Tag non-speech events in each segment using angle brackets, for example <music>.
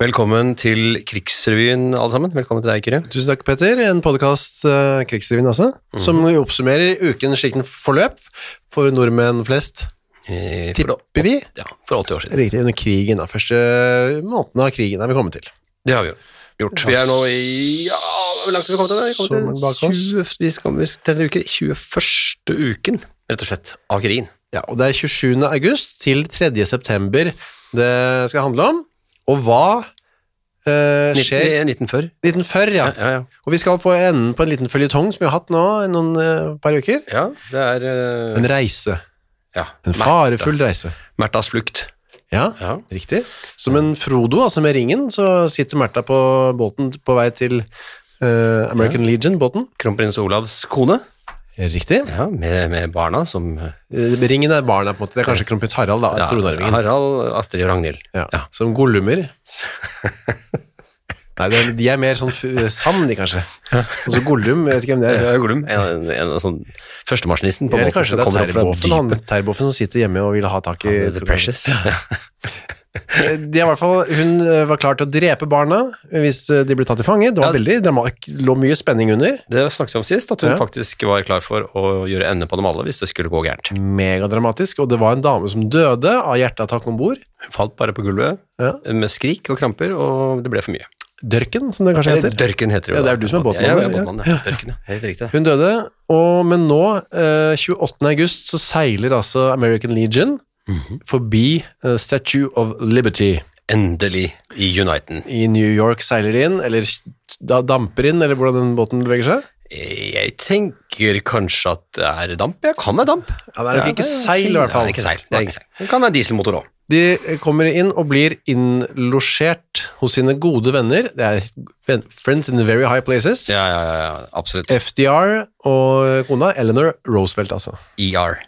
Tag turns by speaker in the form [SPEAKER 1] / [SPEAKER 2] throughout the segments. [SPEAKER 1] Velkommen til Krigsrevyen, alle sammen. Velkommen til deg, Kyrre.
[SPEAKER 2] Tusen takk, Petter. En podkast, Krigsrevyen altså, som oppsummerer uken slik den forløp for nordmenn flest,
[SPEAKER 1] Eh, for å-
[SPEAKER 2] tipper vi.
[SPEAKER 1] Ja, for 80 år siden.
[SPEAKER 2] Riktig, under krigen, da. Første eh, måneden av krigen er vi kommet til.
[SPEAKER 1] Det har vi jo gjort. Vi er nå i Ja, hvor langt har vi kommet? da? Vi har
[SPEAKER 2] Sommeren bak
[SPEAKER 1] kommet
[SPEAKER 2] oss.
[SPEAKER 1] til 20, vi skal, vi skal, denne uken, 21. uken, rett og slett, av krigen.
[SPEAKER 2] Ja, og det er 27. august til 3. september det skal handle om. Og hva eh, skjer
[SPEAKER 1] 19, 1940.
[SPEAKER 2] 1940, ja.
[SPEAKER 1] Ja, ja, ja.
[SPEAKER 2] Og vi skal få enden på en liten føljetong som vi har hatt nå i noen eh, par uker.
[SPEAKER 1] ja det er eh,
[SPEAKER 2] En reise.
[SPEAKER 1] ja.
[SPEAKER 2] En farefull reise.
[SPEAKER 1] Märthas flukt.
[SPEAKER 2] Ja,
[SPEAKER 1] Ja.
[SPEAKER 2] Riktig. Som en Frodo, altså med ringen, så sitter Märtha på båten på vei til eh, American Legion-båten.
[SPEAKER 1] Kronprins Olavs kone,
[SPEAKER 2] Riktig.
[SPEAKER 1] ja, med, med barna som eh,
[SPEAKER 2] Eh, ringen er barna, på en måte. Det er kanskje kronprins Harald, da.
[SPEAKER 1] ja,
[SPEAKER 2] tronarvingen.
[SPEAKER 1] Harald, Astrid og Ragnhild.
[SPEAKER 2] Ja.
[SPEAKER 1] Ja.
[SPEAKER 2] Som gollumer. <laughs> Nei, det er- de er mer sånn f- sand, de, kanskje. Og så Gollum, jeg vet ikke hvem det er.
[SPEAKER 1] Ja, Glum. En, en, en, sånn førstemaskinisten på
[SPEAKER 2] Eller
[SPEAKER 1] båten
[SPEAKER 2] kanskje
[SPEAKER 1] som
[SPEAKER 2] det er
[SPEAKER 1] kommer opp
[SPEAKER 2] Terboven,
[SPEAKER 1] fra
[SPEAKER 2] han, Terboven som sitter hjemme og vil ha tak i Eh,
[SPEAKER 1] dypet. The
[SPEAKER 2] <laughs>
[SPEAKER 1] Precious. Ja.
[SPEAKER 2] De er i hvert fall, Hun eh, var klar til å drepe barna hvis eh, de ble tatt til fange. Det var
[SPEAKER 1] Ja.
[SPEAKER 2] veldig dramatisk, lå mye spenning under.
[SPEAKER 1] Det snakket vi om sist, at hun
[SPEAKER 2] Ja.
[SPEAKER 1] faktisk var klar for å gjøre ende på dem alle hvis det skulle gå gærent.
[SPEAKER 2] megadramatisk, og det var en dame som døde av hjerteattakk om bord.
[SPEAKER 1] Hun falt bare på gulvet
[SPEAKER 2] Ja.
[SPEAKER 1] med skrik og kramper, og det ble for mye.
[SPEAKER 2] Dørken, som det kanskje
[SPEAKER 1] Eller
[SPEAKER 2] heter.
[SPEAKER 1] Dørken heter det jo.
[SPEAKER 2] Ja, det
[SPEAKER 1] da.
[SPEAKER 2] er du som er båtmann,
[SPEAKER 1] Ja, jeg er
[SPEAKER 2] ja.
[SPEAKER 1] båtmann, ja. Dørken, ja. Helt riktig.
[SPEAKER 2] Hun døde, og, men nå, eh, 28. august, så seiler altså American Legion forbi eh, Statue of Liberty.
[SPEAKER 1] Endelig i Uniten.
[SPEAKER 2] I New York seiler de inn, eller da damper inn, eller hvordan den båten beveger seg.
[SPEAKER 1] Jeg tenker kanskje at det er damp. Ja, kan være damp.
[SPEAKER 2] Ja, det er nok
[SPEAKER 1] Ja,
[SPEAKER 2] ikke seil, i
[SPEAKER 1] Ja,
[SPEAKER 2] hvert fall.
[SPEAKER 1] det er ikke seil. Det er ikke seil. Det kan være dieselmotor òg.
[SPEAKER 2] De eh, kommer inn og blir innlosjert hos sine gode venner. Det er ven- friends in the very high places.
[SPEAKER 1] Ja, ja, ja, ja, absolutt.
[SPEAKER 2] FDR og kona, Eleanor Roosevelt, altså.
[SPEAKER 1] ER.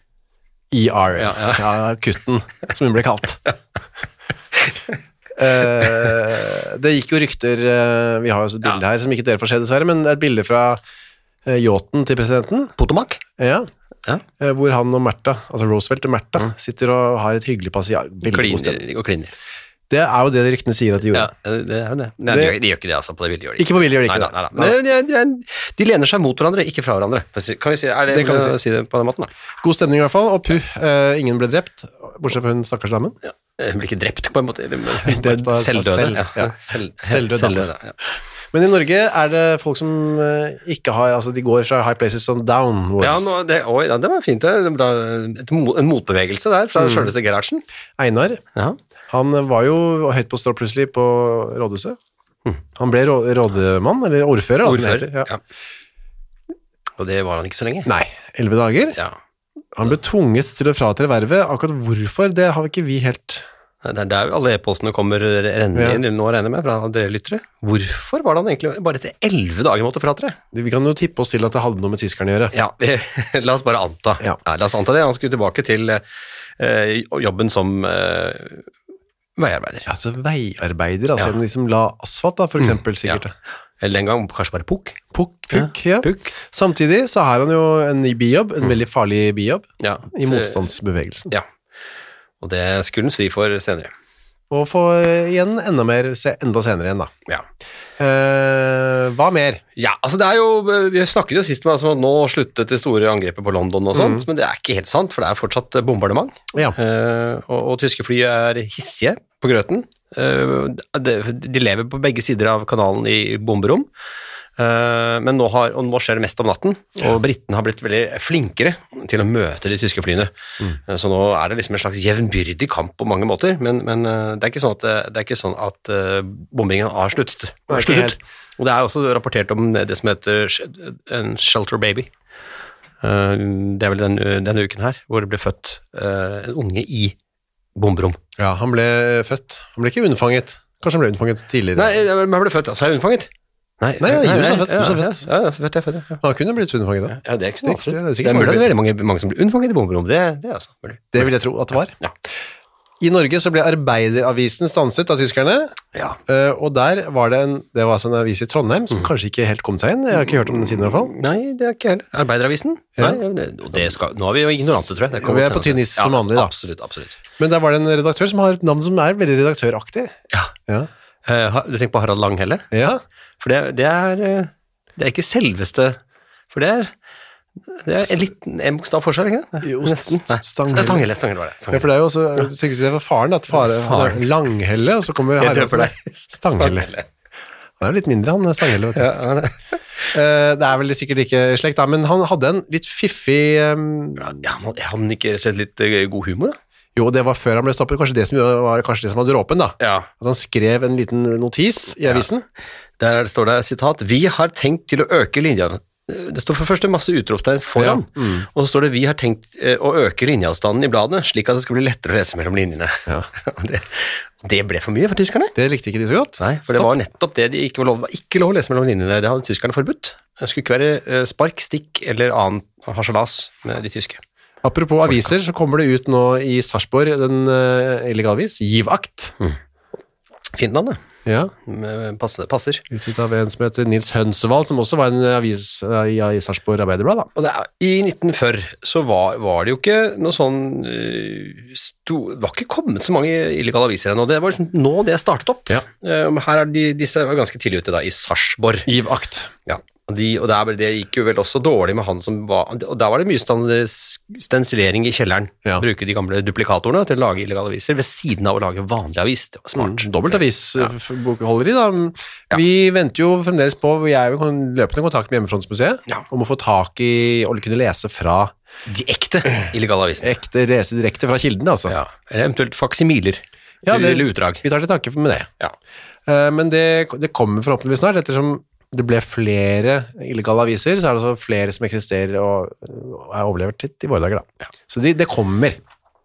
[SPEAKER 2] ER,
[SPEAKER 1] Ja,
[SPEAKER 2] ja,
[SPEAKER 1] ja.
[SPEAKER 2] kutten, som hun
[SPEAKER 1] <laughs>
[SPEAKER 2] ble kalt. Eh, det gikk jo rykter eh, Vi har jo også et bilde her som ikke dere får se, dessverre, men det er et bilde fra eh, yachten til presidenten,
[SPEAKER 1] Potomac.
[SPEAKER 2] ja,
[SPEAKER 1] Ja.
[SPEAKER 2] eh, hvor han og Märtha, altså Roosevelt og Märtha, sitter og har et hyggelig passiar. Veldig god stemning.
[SPEAKER 1] Mm. Kliner og kliner.
[SPEAKER 2] Det er jo det de ryktene sier at de
[SPEAKER 1] Ja,
[SPEAKER 2] gjorde.
[SPEAKER 1] det er jo det. Nei,
[SPEAKER 2] Det-
[SPEAKER 1] de, gjør- de gjør ikke det, altså. På det ville gjør de
[SPEAKER 2] Ikke på vilje, gjør de
[SPEAKER 1] Nei,
[SPEAKER 2] ikke
[SPEAKER 1] nei,
[SPEAKER 2] det.
[SPEAKER 1] nei, nei.
[SPEAKER 2] Eh,
[SPEAKER 1] Men De, de, de, de lener seg mot hverandre, ikke fra hverandre. Kan vi si, er det,
[SPEAKER 2] Det kan vi si.
[SPEAKER 1] si det på den måten, da?
[SPEAKER 2] God stemning, i hvert fall, og puh, eh, ingen ble drept, bortsett fra hun stakkars damen.
[SPEAKER 1] Eh, Hun blir ikke drept, på en måte.
[SPEAKER 2] <laughs>
[SPEAKER 1] eller-
[SPEAKER 2] Drept av seg
[SPEAKER 1] Selvdøde.
[SPEAKER 2] selv,
[SPEAKER 1] ja.
[SPEAKER 2] ja.
[SPEAKER 1] Selv,
[SPEAKER 2] Selvdøde, da.
[SPEAKER 1] ja.
[SPEAKER 2] Men i Norge er det folk som eh, ikke har Altså, de går fra high places og downwards.
[SPEAKER 1] Ja, nå, det, oi, ja, det var fint. Det, det er bra, et, mo- en motbevegelse der
[SPEAKER 2] Mm.
[SPEAKER 1] fra selveste Gerhardsen.
[SPEAKER 2] Einar,
[SPEAKER 1] Ja.
[SPEAKER 2] han var jo høyt på strå plutselig på rådhuset. Han ble rå rådemann, eller ordfører, da, som det
[SPEAKER 1] Ordfører.
[SPEAKER 2] heter. Ja.
[SPEAKER 1] Ja. Og det var han ikke så lenge.
[SPEAKER 2] Nei, elleve dager.
[SPEAKER 1] Ja.
[SPEAKER 2] Han ble tvunget til å fratre vervet. Akkurat hvorfor, det har ikke vi helt
[SPEAKER 1] Det er der alle e-postene kommer rennende
[SPEAKER 2] Ja.
[SPEAKER 1] inn nå, regner jeg med, fra dere lyttere. Hvorfor var det han egentlig bare etter elleve dager måtte fratre?
[SPEAKER 2] Vi kan jo tippe oss til at det hadde noe med tyskerne å gjøre.
[SPEAKER 1] Ja, <laughs> la oss bare anta. Ja.
[SPEAKER 2] Ja.
[SPEAKER 1] la oss anta det. Han skulle tilbake til eh, jobben som eh, veiarbeider.
[SPEAKER 2] Altså veiarbeider, altså
[SPEAKER 1] Ja. Mm,
[SPEAKER 2] en de som la asfalt, da, for eksempel, sikkert.
[SPEAKER 1] Ja. Eller den gang kanskje bare pukk.
[SPEAKER 2] Pukk, pukk, ja.
[SPEAKER 1] Pukk. Mm.
[SPEAKER 2] Samtidig så har han jo en ny bijobb, en veldig farlig bijobb,
[SPEAKER 1] Ja.
[SPEAKER 2] i motstandsbevegelsen.
[SPEAKER 1] Ja. Og det skulle han svi for senere.
[SPEAKER 2] Og få eh, igjen enda mer, se enda senere igjen, da.
[SPEAKER 1] Ja.
[SPEAKER 2] Eh, hva mer?
[SPEAKER 1] Ja, altså det er jo, Vi snakket jo sist med altså, at nå sluttet det store angrepet på London, og sånt,
[SPEAKER 2] Mm.
[SPEAKER 1] men det er ikke helt sant, for det er fortsatt bombardement.
[SPEAKER 2] Ja.
[SPEAKER 1] Eh, og, og tyske fly er hissige på grøten. Eh, det, de lever på begge sider av kanalen i bomberom. Eh, men nå, har, og nå skjer det mest om natten, og britene har blitt veldig flinkere til å møte de tyske flyene.
[SPEAKER 2] Mm.
[SPEAKER 1] Eh, så nå er det liksom en slags jevnbyrdig kamp på mange måter, men, men eh, det er ikke sånn at, eh, det er ikke sånn at eh, bombingen har sluttet.
[SPEAKER 2] Nei, ikke
[SPEAKER 1] sluttet.
[SPEAKER 2] helt.
[SPEAKER 1] Og det er også rapportert om det som heter sh- en shelter baby. Eh, Det er vel den, eh, denne uken her, hvor det ble født eh, en unge i bomberom.
[SPEAKER 2] Ja, eh, han ble født. Han ble ikke unnfanget. Kanskje han ble unnfanget tidligere.
[SPEAKER 1] Nei, men han ble født, altså. Er hun fanget?
[SPEAKER 2] Nei, ja, du sa født, du sa født.
[SPEAKER 1] Ja, ja, født, jeg er født, ja.
[SPEAKER 2] Han kunne blitt hundefanget da.
[SPEAKER 1] ja, det kunne
[SPEAKER 2] Det er
[SPEAKER 1] det
[SPEAKER 2] ikke-
[SPEAKER 1] absolutt.
[SPEAKER 2] det er
[SPEAKER 1] Det
[SPEAKER 2] sikkert
[SPEAKER 1] er mulig at
[SPEAKER 2] mulig.
[SPEAKER 1] det er veldig mange, mange som blir unnfanget i bomberom. Det, det er altså mulig.
[SPEAKER 2] Det vil jeg tro at det var.
[SPEAKER 1] Ja.
[SPEAKER 2] I Norge så ble Arbeideravisen stanset av tyskerne,
[SPEAKER 1] Ja.
[SPEAKER 2] eh, og der var det en, det var altså en avis i Trondheim som kanskje ikke helt kom seg inn. Jeg har ikke hørt om den siden i hvert fall.
[SPEAKER 1] Nei, det er ikke heller. Arbeideravisen?
[SPEAKER 2] Ja.
[SPEAKER 1] Nei, det, og det skal, nå er vi jo ignorante, tror jeg. Det kan
[SPEAKER 2] Vi er
[SPEAKER 1] godt
[SPEAKER 2] på
[SPEAKER 1] hende.
[SPEAKER 2] tynn is som vanlig, da.
[SPEAKER 1] Absolutt, absolutt.
[SPEAKER 2] Men der var det en redaktør som har et navn som er veldig redaktøraktig.
[SPEAKER 1] Ja.
[SPEAKER 2] Ja.
[SPEAKER 1] Eh, har- du tenker på Harald Langhelle?
[SPEAKER 2] Ja.
[SPEAKER 1] For det, det, er, eh, det er ikke selveste For det er, det er en liten en bokstav forskjell, ikke det?
[SPEAKER 2] Jo,
[SPEAKER 1] Nesten. Nei,
[SPEAKER 2] Stanghelle.
[SPEAKER 1] Stanghelle, Stanghelle var det.
[SPEAKER 2] Ja,
[SPEAKER 1] Stanghelle.
[SPEAKER 2] for det er jo også, du tenker ikke det var faren, at fare, han er langhelle, og så kommer
[SPEAKER 1] Jeg
[SPEAKER 2] Harald
[SPEAKER 1] døper
[SPEAKER 2] som
[SPEAKER 1] <laughs>
[SPEAKER 2] er
[SPEAKER 1] deg.
[SPEAKER 2] Stanghelle. Han er jo litt mindre, han Stanghelle, vet du.
[SPEAKER 1] Ja, han er-
[SPEAKER 2] <laughs> Eh, Det er vel sikkert ikke i slekt, da, men han hadde en litt fiffig ehm,
[SPEAKER 1] ja, han hadde- han hadde ikke rett og slett litt eh, god humor, da?
[SPEAKER 2] Jo, det var før han ble stoppet, kanskje det som gjorde- var, kanskje det som var dråpen, da.
[SPEAKER 1] Ja.
[SPEAKER 2] At han skrev en liten notis i avisen.
[SPEAKER 1] Der er det- står det sitat Vi har tenkt til å øke linja Det står for første masse utropstegn foran,
[SPEAKER 2] Ja, mm.
[SPEAKER 1] og så står det Vi har tenkt eh, å øke linjeavstanden i bladene, slik at det skal bli lettere å lese mellom linjene.
[SPEAKER 2] Ja.
[SPEAKER 1] <laughs> Og det, det ble for mye for tyskerne.
[SPEAKER 2] Det likte ikke de så godt.
[SPEAKER 1] Nei, for det var nettopp det de ikke var lov, var ikke lov å lese mellom linjene. Det hadde tyskerne forbudt. Det skulle ikke være eh, spark, stikk eller annen harselas med de tyske.
[SPEAKER 2] Apropos aviser, så kommer det ut nå i Sarpsborg, den uh, illegale avis, Givakt.
[SPEAKER 1] Mm. Fint navn, det.
[SPEAKER 2] Ja,
[SPEAKER 1] Med- Passer, passer.
[SPEAKER 2] utgitt av en som heter Nils Hønsevald, som også var en eh, avis eh, i, i Sarpsborg Arbeiderblad, da.
[SPEAKER 1] Og det er, I 1940 så var, var det jo ikke noe sånn eh, sto, Det var ikke kommet så mange illegale aviser ennå. Det var liksom nå det startet opp.
[SPEAKER 2] Ja.
[SPEAKER 1] Eh, men her er de, Disse var ganske tidlig ute, da, i Sarpsborg.
[SPEAKER 2] Givakt.
[SPEAKER 1] Ja, og, de, og der, ble- det gikk jo vel også dårlig med han som var Og der var det mye stand- stensilering i kjelleren.
[SPEAKER 2] Ja.
[SPEAKER 1] Bruke de gamle duplikatorene til å lage illegale aviser ved siden av å lage vanlig avis. Det var smart.
[SPEAKER 2] Dobbelt avisbokholderi, da. Mm, Vi venter jo fremdeles på Vi er jo i kon- løpende kontakt med Hjemmefrontsmuseet
[SPEAKER 1] Ja.
[SPEAKER 2] om å få tak i og kunne lese fra
[SPEAKER 1] De ekte illegale avisene.
[SPEAKER 2] ekte, lese direkte fra kilden, altså.
[SPEAKER 1] Ja. Eller eventuelt faksimiler
[SPEAKER 2] Ja, det-
[SPEAKER 1] eller utdrag.
[SPEAKER 2] Vi tar til tanke med det.
[SPEAKER 1] Ja.
[SPEAKER 2] Eh, Men det, det kommer forhåpentligvis snart, ettersom det ble flere illegale aviser, så er det også flere som eksisterer og og er overlevert litt i våre dager, da. Så de, det kommer.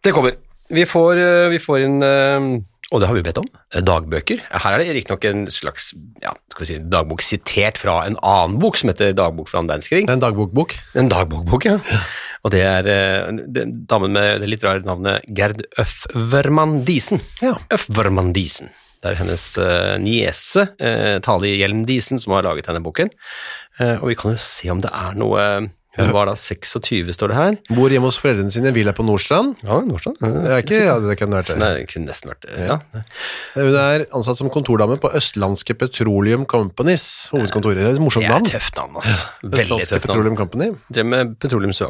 [SPEAKER 1] Det kommer. Vi får, eh, vi får inn eh, og det har vi bedt om. eh, Dagbøker. Her er det riktignok en slags ja, skal vi si, dagbok sitert fra en annen bok som heter 'Dagbok fra annen verdenskrig'.
[SPEAKER 2] Det er en dagbokbok.
[SPEAKER 1] En dagbogbok, ja. Og det er eh, den damen med det litt rare navnet Gerd Øfvermann Diesen.
[SPEAKER 2] Ja.
[SPEAKER 1] Øfvermann Diesen. Det er hennes eh, niese, eh, Tali Hjelm Diesen, som har laget denne boken. Eh, og vi kan jo se om det er noe eh, Hun var da 26, står det her.
[SPEAKER 2] Bor hjemme hos foreldrene sine, villa på Nordstrand.
[SPEAKER 1] Ja, Nordstrand.
[SPEAKER 2] Det er ikke, ja, det kan det være.
[SPEAKER 1] Nei, det kunne nesten vært eh, ja.
[SPEAKER 2] Hun er ansatt som kontordame på Østlandske Petroleum Companies hovedkontor. Det er et morsomt
[SPEAKER 1] Det er
[SPEAKER 2] navn.
[SPEAKER 1] et tøft navn, altså. Veldig
[SPEAKER 2] Østlandske
[SPEAKER 1] tøft navn.
[SPEAKER 2] Petroleum Company
[SPEAKER 1] Drev med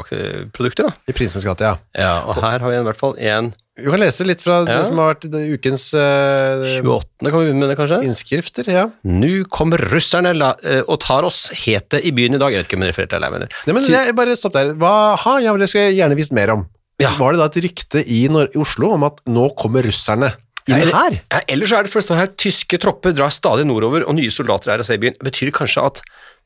[SPEAKER 1] petroleumsprodukter, da.
[SPEAKER 2] i Prinsens gate, ja.
[SPEAKER 1] Ja, og her har vi i hvert fall en
[SPEAKER 2] Du kan lese litt fra det
[SPEAKER 1] Ja.
[SPEAKER 2] som har vært det ukens eh,
[SPEAKER 1] 28. kan vi begynne med det, kanskje?
[SPEAKER 2] innskrifter, ja.
[SPEAKER 1] Nu kommer russerne la, eh, og tar oss, het det i byen i dag. Jeg vet ikke om jeg refererte til det, men
[SPEAKER 2] Nei, men jeg, bare stopp der. Hva, ha, ja, men det skulle jeg gjerne visst mer om.
[SPEAKER 1] Ja.
[SPEAKER 2] Var det da et rykte i, Nor i Oslo om at nå kommer russerne inn
[SPEAKER 1] Nei,
[SPEAKER 2] her?
[SPEAKER 1] Ja, ellers så er det for det står her tyske tropper drar stadig nordover, og nye soldater er å se i byen. Betyr det kanskje at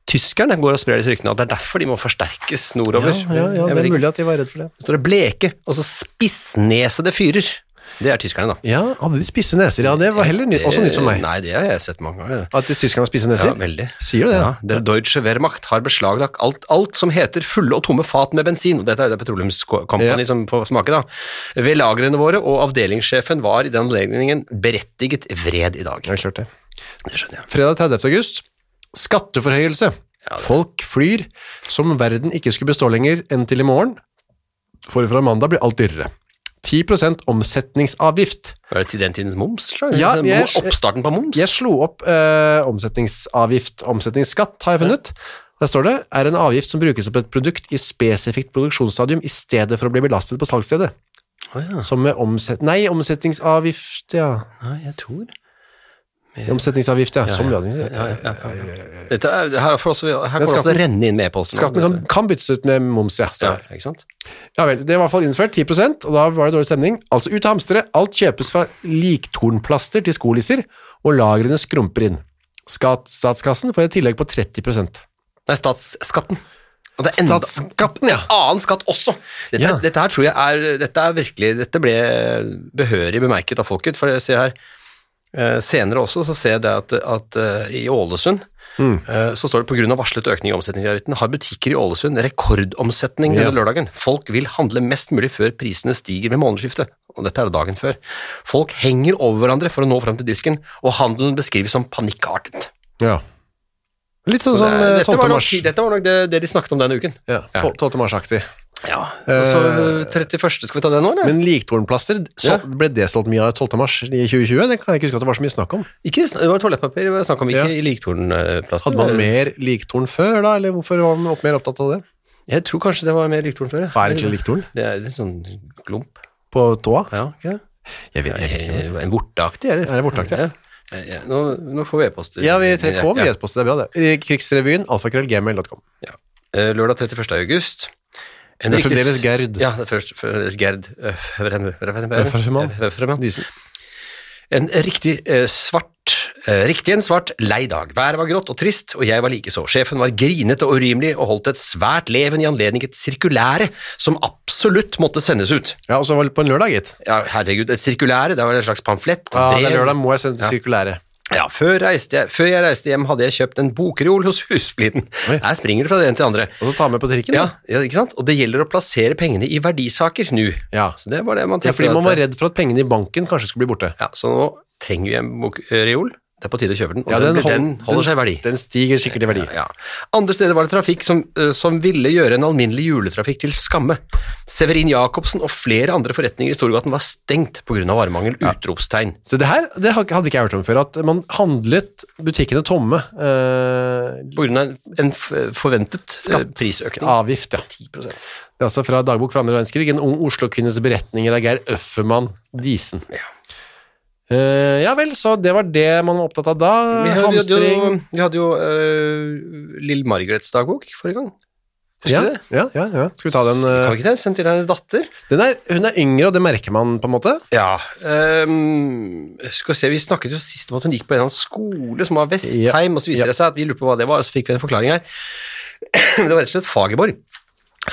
[SPEAKER 1] tyskerne går og sprer disse ryktene, at det er derfor de må forsterkes nordover? Jeg vet ikke.
[SPEAKER 2] at de var redd for det.
[SPEAKER 1] Så står det bleke, og så spissnesede fyrer. Det er tyskerne, da.
[SPEAKER 2] Ja, hadde de spisse neser? Ja, det var heller nytt, også nytt som meg.
[SPEAKER 1] Eh, Nei, det har jeg sett mange ganger. det.
[SPEAKER 2] At de tyskerne har spisse
[SPEAKER 1] Ja,
[SPEAKER 2] neser?
[SPEAKER 1] veldig.
[SPEAKER 2] Sier du det?
[SPEAKER 1] Ja, der Deutsche Wehrmacht har beslaglagt alt, alt som heter fulle og tomme fat med bensin, og dette er jo det Petroleumskompani
[SPEAKER 2] Ja.
[SPEAKER 1] som får smake, da, ved lagrene våre, og avdelingssjefen var i den anledningen berettiget vred i dag.
[SPEAKER 2] Ja, klart det.
[SPEAKER 1] Det skjønner jeg.
[SPEAKER 2] Fredag 30. august. Skatteforhøyelse. Folk flyr som verden ikke skulle bestå lenger enn til i morgen. For fra mandag blir alt dyrere. 10 omsetningsavgift.
[SPEAKER 1] Var det til den tidens moms? tror jeg?
[SPEAKER 2] Ja,
[SPEAKER 1] Den
[SPEAKER 2] jeg-
[SPEAKER 1] Oppstarten på moms?
[SPEAKER 2] Jeg slo opp eh, omsetningsavgift, omsetningsskatt har jeg funnet. Der står det, er en avgift som brukes på et produkt i spesifikt produksjonsstadium i stedet for å bli belastet på salgsstedet.
[SPEAKER 1] Å ja.
[SPEAKER 2] Som med omset... Nei, omsetningsavgift, ja.
[SPEAKER 1] Nei, jeg tror
[SPEAKER 2] Omsetningsavgift, ja. Som
[SPEAKER 1] ja, ja, ja, ja.
[SPEAKER 2] ja, ja, ja.
[SPEAKER 1] Dette er, Her, får også, her
[SPEAKER 2] Men
[SPEAKER 1] kan det også
[SPEAKER 2] skatten-
[SPEAKER 1] renne inn med e-posten.
[SPEAKER 2] Skatten kan, kan byttes ut med moms, ja.
[SPEAKER 1] ja,
[SPEAKER 2] står det.
[SPEAKER 1] ikke sant?
[SPEAKER 2] Ja vel, det var i hvert fall innført 10 og da var det dårlig stemning. Altså ut og hamstre, alt kjøpes fra liktornplaster til skolisser, og lagrene skrumper inn. Skat, statskassen får et tillegg på 30
[SPEAKER 1] Nei, statsskatten. Og det er enda
[SPEAKER 2] Statsskatten, ja!
[SPEAKER 1] annen skatt også. Dette,
[SPEAKER 2] Ja.
[SPEAKER 1] dette her tror jeg er, dette er virkelig, dette ble behørig bemerket av folket, for jeg ser her, eh, Eh, senere også så ser jeg det at, at eh, i Ålesund
[SPEAKER 2] Mm.
[SPEAKER 1] eh, så står det pga. varslet økning i omsetningsavgiften har butikker i Ålesund rekordomsetning
[SPEAKER 2] Ja.
[SPEAKER 1] denne lørdagen. Folk vil handle mest mulig før prisene stiger ved månedsskiftet. Og dette er det dagen før. Folk henger over hverandre for å nå fram til disken, og handelen beskrives som panikkartet.
[SPEAKER 2] Ja. Litt sånn
[SPEAKER 1] Så
[SPEAKER 2] som
[SPEAKER 1] det er-
[SPEAKER 2] eh,
[SPEAKER 1] dette,
[SPEAKER 2] 12.
[SPEAKER 1] var nok,
[SPEAKER 2] mars.
[SPEAKER 1] dette var nok det, det de snakket om denne uken.
[SPEAKER 2] Ja,
[SPEAKER 1] Ja.
[SPEAKER 2] 12. 12. mars-aktig.
[SPEAKER 1] Ja, og så
[SPEAKER 2] Eh,
[SPEAKER 1] 31. skal vi ta det nå, eller?
[SPEAKER 2] Men liktornplaster så
[SPEAKER 1] Ja.
[SPEAKER 2] ble det solgt mye av 12. mars i 2020. Det kan jeg ikke huske at det var så mye snakk om.
[SPEAKER 1] Ikke, sn- det var toalettpapir det var snakk om, ikke
[SPEAKER 2] Ja.
[SPEAKER 1] i liktornplaster.
[SPEAKER 2] Hadde man mer liktorn før, da? Eller hvorfor var man opp- mer opptatt av det?
[SPEAKER 1] Jeg tror kanskje det var mer liktorn før. ja.
[SPEAKER 2] Hva er egentlig liktorn?
[SPEAKER 1] Det er en sånn glump.
[SPEAKER 2] På tåa?
[SPEAKER 1] Ja, ikke det?
[SPEAKER 2] Jeg vet, jeg vet ikke.
[SPEAKER 1] Eh, En vorteaktig, eller?
[SPEAKER 2] Er det vorteaktig,
[SPEAKER 1] ja? ja, ja. Nå, nå får vi e-post.
[SPEAKER 2] Ja, vi tre- får mye
[SPEAKER 1] Ja.
[SPEAKER 2] e-post, det er bra, det. Krigsrevyen, alfakrøllgmail.com.
[SPEAKER 1] Eh, Lørdag 31. august. En
[SPEAKER 2] Det er
[SPEAKER 1] riktig-
[SPEAKER 2] fremdeles Gerd.
[SPEAKER 1] Ja, det er først- fremdeles Gerd eh, Øvrehem- Øvrehem-
[SPEAKER 2] Øvrehemann.
[SPEAKER 1] Øvrehemann.
[SPEAKER 2] Disen.
[SPEAKER 1] En riktig eh, svart eh, Riktig en svart lei dag. Været var grått og trist, og jeg var likeså. Sjefen var grinete og urimelig og holdt et svært leven i anledning et sirkulære som absolutt måtte sendes ut.
[SPEAKER 2] Ja, og så var det på en lørdag, gitt.
[SPEAKER 1] Ja, herregud, et sirkulære, det var en slags pamflett.
[SPEAKER 2] Ja, det
[SPEAKER 1] brev.
[SPEAKER 2] er lørdag, må jeg sende til sirkulæret.
[SPEAKER 1] Ja, før, reiste jeg, før jeg reiste hjem hadde jeg kjøpt en bokreol hos husfliden.
[SPEAKER 2] Oi.
[SPEAKER 1] Her springer det fra det ene til det andre.
[SPEAKER 2] Og så ta med på trikken,
[SPEAKER 1] Ja,
[SPEAKER 2] da.
[SPEAKER 1] ja, ikke sant? Og det gjelder å plassere pengene i verdisaker nå.
[SPEAKER 2] Ja.
[SPEAKER 1] Så det var det man
[SPEAKER 2] ja,
[SPEAKER 1] tenkte.
[SPEAKER 2] fordi
[SPEAKER 1] at-
[SPEAKER 2] man
[SPEAKER 1] eh,
[SPEAKER 2] var redd for at pengene i banken kanskje skulle bli borte.
[SPEAKER 1] Ja, så nå trenger vi en bokreol. Det er på tide å kjøpe den, og
[SPEAKER 2] Ja,
[SPEAKER 1] den,
[SPEAKER 2] den
[SPEAKER 1] blir- den
[SPEAKER 2] hold-
[SPEAKER 1] holder seg i verdi.
[SPEAKER 2] Den stiger sikkert i verdi.
[SPEAKER 1] Ja. Andre steder var det trafikk som, eh, som ville gjøre en alminnelig juletrafikk til skamme. Severin Jacobsen og flere andre forretninger i Storgaten var stengt pga. varemangel. Utropstegn.
[SPEAKER 2] Så det her det hadde hadde ikke jeg hørt om før, at man handlet butikkene tomme. eh,
[SPEAKER 1] Pga. en, en f- forventet eh,
[SPEAKER 2] Skatt.
[SPEAKER 1] prisøkning.
[SPEAKER 2] avgift, ja.
[SPEAKER 1] 10
[SPEAKER 2] Det er altså fra dagbok fra andre verdenskrig, en ung Oslo-kvinnes beretninger av Geir Øffermann Disen.
[SPEAKER 1] Ja.
[SPEAKER 2] Eh, ja vel, så det var det man var opptatt av da.
[SPEAKER 1] Vi hadde, vi hadde
[SPEAKER 2] Hamstring.
[SPEAKER 1] jo, vi hadde jo øh, Lill Margarets dagbok forrige gang. Husker
[SPEAKER 2] Ja,
[SPEAKER 1] du det?
[SPEAKER 2] ja, ja, ja. Skal vi ta den?
[SPEAKER 1] Kan
[SPEAKER 2] eh,
[SPEAKER 1] vi ikke det? Sendt til hennes datter.
[SPEAKER 2] den er, hun er yngre, og det merker man på en måte.
[SPEAKER 1] Ja. øhm, skal vi se, vi snakket jo sist om at hun gikk på en eller annen skole som var Vestheim, og så viser
[SPEAKER 2] Ja.
[SPEAKER 1] det seg at vi lurte på hva det var, og så fikk vi en forklaring her. <clears throat> Det var rett og slett Fagerborg.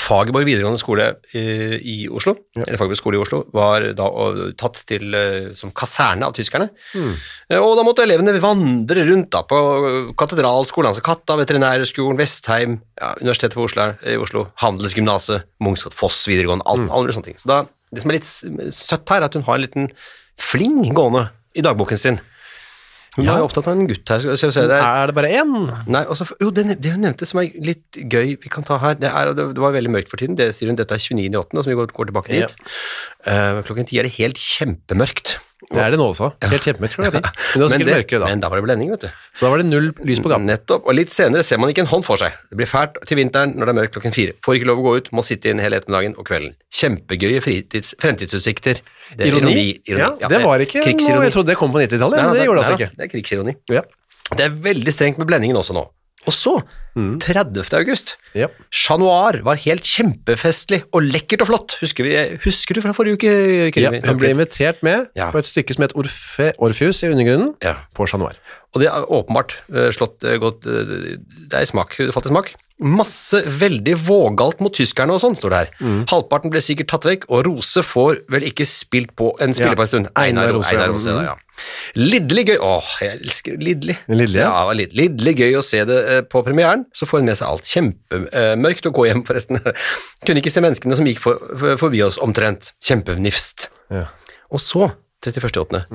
[SPEAKER 1] Fagerborg videregående skole øh, i Oslo, eller Fagerborg skole i Oslo, var da øh, tatt til øh, som kaserne av tyskerne. Eh, Og da måtte elevene vandre rundt da på eh, katedralskolen, altså Katta, Veterinærskolen, Vestheim, ja, Universitetet på Oslo, i Oslo Handelsgymnaset, Mungsgaard, Foss videregående, alt, alle sånne ting. Så da, det som er litt s- søtt her, er at hun har en liten fling gående i dagboken sin. Hun var jo opptatt av en gutt her, skal vi se det. er-
[SPEAKER 2] Er det bare én?
[SPEAKER 1] Nei, og så- jo, det, nev- det hun nevnte som er litt gøy vi kan ta her, det, er, det var veldig mørkt for tiden, det sier hun, dette er 29.8., som vi går, går tilbake dit. Eh, klokken 10 er det helt kjempemørkt.
[SPEAKER 2] Det er det nå også. Helt kjempemørkt
[SPEAKER 1] <laughs>
[SPEAKER 2] klokka ti. Men det var sikkert mørkere da.
[SPEAKER 1] men da var det blending, vet du.
[SPEAKER 2] Så da var det null lys på gaten.
[SPEAKER 1] Nettopp, og litt senere ser man ikke en hånd for seg. Det blir fælt til vinteren når det er mørkt klokken fire. Får ikke lov å gå ut, må sitte inn hele ettermiddagen og kvelden. Kjempegøye fritids, fremtidsutsikter. Det er
[SPEAKER 2] Ironi? Ja,
[SPEAKER 1] Ja,
[SPEAKER 2] det var ikke noe jeg trodde det kom på 90-tallet, men det gjorde det altså ikke.
[SPEAKER 1] Det er krigsironi.
[SPEAKER 2] Ja.
[SPEAKER 1] Det er veldig strengt med blendingen også nå. Og så,
[SPEAKER 2] Mm.
[SPEAKER 1] 30. august,
[SPEAKER 2] Ja.
[SPEAKER 1] Chat Noir var helt kjempefestlig og lekkert og flott. Husker, vi, husker du fra forrige uke?
[SPEAKER 2] Ja,
[SPEAKER 1] Kevin?
[SPEAKER 2] hun ble invitert med
[SPEAKER 1] Ja.
[SPEAKER 2] på et stykke som het Orfe, Orfeus i undergrunnen
[SPEAKER 1] Ja.
[SPEAKER 2] på Chat Noir.
[SPEAKER 1] Og det er åpenbart eh, slått eh, godt eh, Det er smak, fattig smak. Masse veldig vågalt mot tyskerne og sånn, står det her. Halvparten ble sikkert tatt vekk, og Rose får vel ikke spilt på en spiller
[SPEAKER 2] Ja,
[SPEAKER 1] på en stund.
[SPEAKER 2] Einar
[SPEAKER 1] Einar,
[SPEAKER 2] Rose,
[SPEAKER 1] Einar
[SPEAKER 2] ja.
[SPEAKER 1] Rose, ja. ja. Lidderlig gøy Åh, jeg elsker Lidderlig.
[SPEAKER 2] Lidderlig, ja.
[SPEAKER 1] ja. det var lidd- Lidderlig gøy å se det eh, på premieren. Så får en med seg alt. Kjempemørkt å gå hjem, forresten. <laughs> Kunne ikke se menneskene som gikk for, for, forbi oss, omtrent. Kjempenifst.
[SPEAKER 2] Ja. Mm.
[SPEAKER 1] Og så, 31.8.,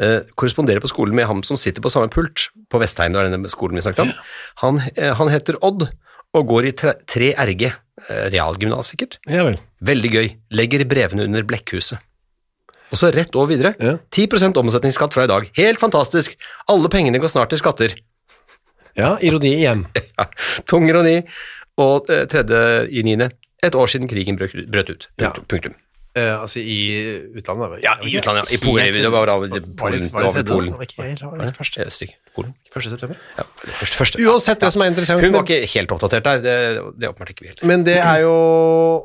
[SPEAKER 1] eh, korresponderer på skolen med ham som sitter på samme pult på Vestheim, det var denne skolen vi snakket om. Han, eh, han heter Odd og går i 3RG, eh, realgymnas sikkert.
[SPEAKER 2] Ja vel.
[SPEAKER 1] Veldig gøy. Legger brevene under Blekkhuset. Og så rett over videre.
[SPEAKER 2] Ja.
[SPEAKER 1] 10 omsetningsskatt fra i dag. Helt fantastisk! Alle pengene går snart til skatter.
[SPEAKER 2] Ja, ironi igjen.
[SPEAKER 1] Ja, tung ironi. Og eh, tredje i niende. Et år siden krigen brøt, brøt ut.
[SPEAKER 2] Ja.
[SPEAKER 1] Punktum. Punktum.
[SPEAKER 2] Eh, altså i utlandet? da.
[SPEAKER 1] Ja, i utlandet, ja. I Polen,
[SPEAKER 2] Helt-
[SPEAKER 1] det var- det var-
[SPEAKER 2] Var det-
[SPEAKER 1] Polen,
[SPEAKER 2] var det
[SPEAKER 1] det var vel
[SPEAKER 2] tredje, da?
[SPEAKER 1] Polen.
[SPEAKER 2] Det var ikke helt- det var ikke første-
[SPEAKER 1] Eh, Stygg. Polen.
[SPEAKER 2] første september.
[SPEAKER 1] Ja, første, første.
[SPEAKER 2] Uansett, det som er interessant
[SPEAKER 1] Hun var
[SPEAKER 2] med,
[SPEAKER 1] ikke helt oppdatert der, det, det er åpenbart ikke vi heller.
[SPEAKER 2] men det er jo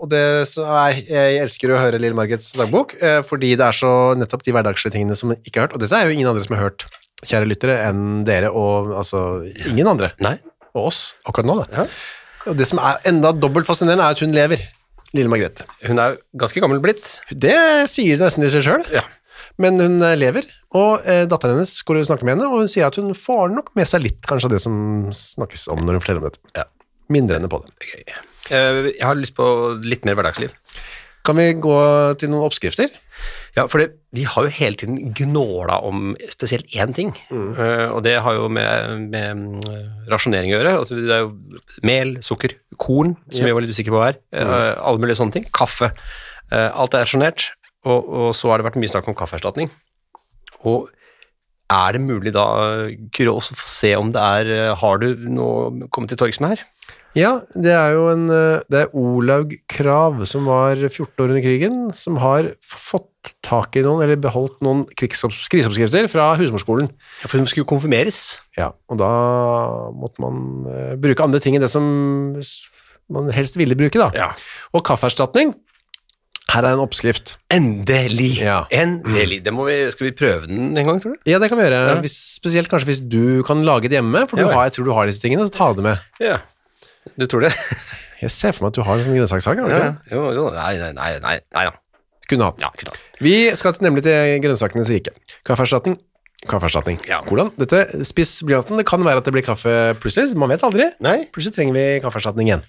[SPEAKER 2] og det som er, Jeg elsker å høre Lille Margarets dagbok, eh, fordi det er så nettopp de hverdagslige tingene som man ikke har hørt. Og dette er jo ingen andre som har hørt, kjære lyttere, enn dere og altså ingen andre.
[SPEAKER 1] Nei.
[SPEAKER 2] og oss akkurat nå. Da.
[SPEAKER 1] Ja.
[SPEAKER 2] Og det som er enda dobbelt fascinerende, er at hun lever. Lille Margrethe.
[SPEAKER 1] Hun er ganske gammel blitt.
[SPEAKER 2] Det sier nesten i seg sjøl.
[SPEAKER 1] Ja.
[SPEAKER 2] Men hun eh, lever, og eh, datteren hennes går og snakker med henne, og hun sier at hun får nok med seg litt kanskje av det som snakkes om når hun forteller om dette.
[SPEAKER 1] Ja.
[SPEAKER 2] Mindre enn på det.
[SPEAKER 1] Gøy. Eh, Jeg har lyst på litt mer hverdagsliv.
[SPEAKER 2] Kan vi gå til noen oppskrifter?
[SPEAKER 1] Ja, for det, vi har jo hele tiden gnåla om spesielt én ting, Eh, og det har jo med, med mm, rasjonering å gjøre. Altså, det er jo mel, sukker, korn, som
[SPEAKER 2] Ja.
[SPEAKER 1] vi var litt usikre på her, Eh, alle mulige sånne ting. Kaffe. Eh, alt er rasjonert, og, og så har det vært mye snakk om kaffeerstatning. Og er det mulig da, Kyrre, også få se om det er eh, Har du nå kommet til torgs med her?
[SPEAKER 2] Ja, det er jo en eh, Det er Olaug Krav, som var 14 år under krigen, som har f- fått tak i noen, eller beholdt noen krigsopp- kriseoppskrifter fra husmorskolen.
[SPEAKER 1] Ja, For hun skulle jo konfirmeres.
[SPEAKER 2] Ja, og da måtte man eh, bruke andre ting enn det som s- man helst ville bruke, da.
[SPEAKER 1] Ja.
[SPEAKER 2] Og kaffeerstatning. Her er en oppskrift.
[SPEAKER 1] Endelig!
[SPEAKER 2] Ja.
[SPEAKER 1] Endelig! Det må vi, skal vi prøve den en gang, tror du?
[SPEAKER 2] Ja, det kan vi gjøre.
[SPEAKER 1] Ja.
[SPEAKER 2] Hvis, spesielt kanskje hvis du kan lage det hjemme, for
[SPEAKER 1] Ja,
[SPEAKER 2] du
[SPEAKER 1] vel.
[SPEAKER 2] har, jeg tror du har disse tingene, så ta det med.
[SPEAKER 1] Ja, du tror det?
[SPEAKER 2] Jeg ser for meg at du har en sånn grønnsakshage. har du ikke det?
[SPEAKER 1] <laughs> Jo, jo, nei, nei, nei, nei, nei, ja.
[SPEAKER 2] Kunne hatt.
[SPEAKER 1] ja, kutt av.
[SPEAKER 2] Vi skal til, nemlig til grønnsakenes rike. Kaffeerstatning. Kaffeerstatning.
[SPEAKER 1] Ja.
[SPEAKER 2] Hvordan? Dette, spiss blyanten. Det kan være at det blir kaffe plutselig. Man vet aldri.
[SPEAKER 1] Nei.
[SPEAKER 2] Plutselig trenger vi kaffeerstatning igjen.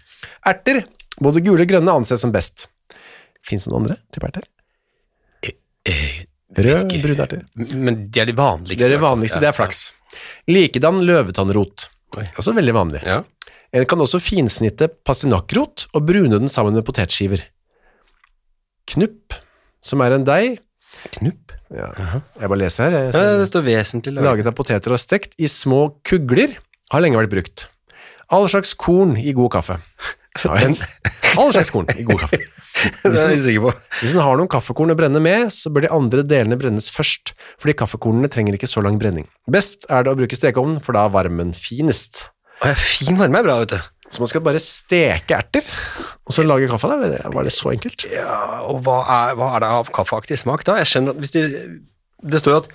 [SPEAKER 2] Erter. Både gule og grønne anses som best. Fins det noen andre type erter?
[SPEAKER 1] Eh,
[SPEAKER 2] Rød,
[SPEAKER 1] ikke.
[SPEAKER 2] brune erter.
[SPEAKER 1] Men de er de vanligste.
[SPEAKER 2] Det
[SPEAKER 1] i
[SPEAKER 2] er det
[SPEAKER 1] hvert fall.
[SPEAKER 2] vanligste, det er flaks. Likedan løvetannrot.
[SPEAKER 1] Oi.
[SPEAKER 2] Også veldig vanlig.
[SPEAKER 1] Ja.
[SPEAKER 2] En kan også finsnitte pastinakkrot og brune den sammen med potetskiver. Knupp, som er en deig
[SPEAKER 1] Knupp.
[SPEAKER 2] ja.
[SPEAKER 1] Jaha.
[SPEAKER 2] Jeg bare leser her. Jeg
[SPEAKER 1] Ja,
[SPEAKER 2] ser-
[SPEAKER 1] det står vesentlig laget.
[SPEAKER 2] Laget av poteter og stekt i små kugler har lenge vært brukt. All slags korn i god
[SPEAKER 1] <laughs>
[SPEAKER 2] kaffe. Ja, vel. All slags korn i god kaffe.
[SPEAKER 1] <laughs> Det er jeg usikker på.
[SPEAKER 2] Hvis en har noen kaffekorn å brenne med, så bør de andre delene brennes først, fordi kaffekornene trenger ikke så lang brenning. Best er det å bruke stekeovnen, for da er varmen finest.
[SPEAKER 1] Å, ja, fin varme er bra, vet du.
[SPEAKER 2] Så man skal bare steke erter, og så lage kaffe der? Eller Var det så enkelt?
[SPEAKER 1] Ja, Ah, og hva er, hva er det av kaffeaktig smak da? Jeg skjønner at hvis de, det står jo at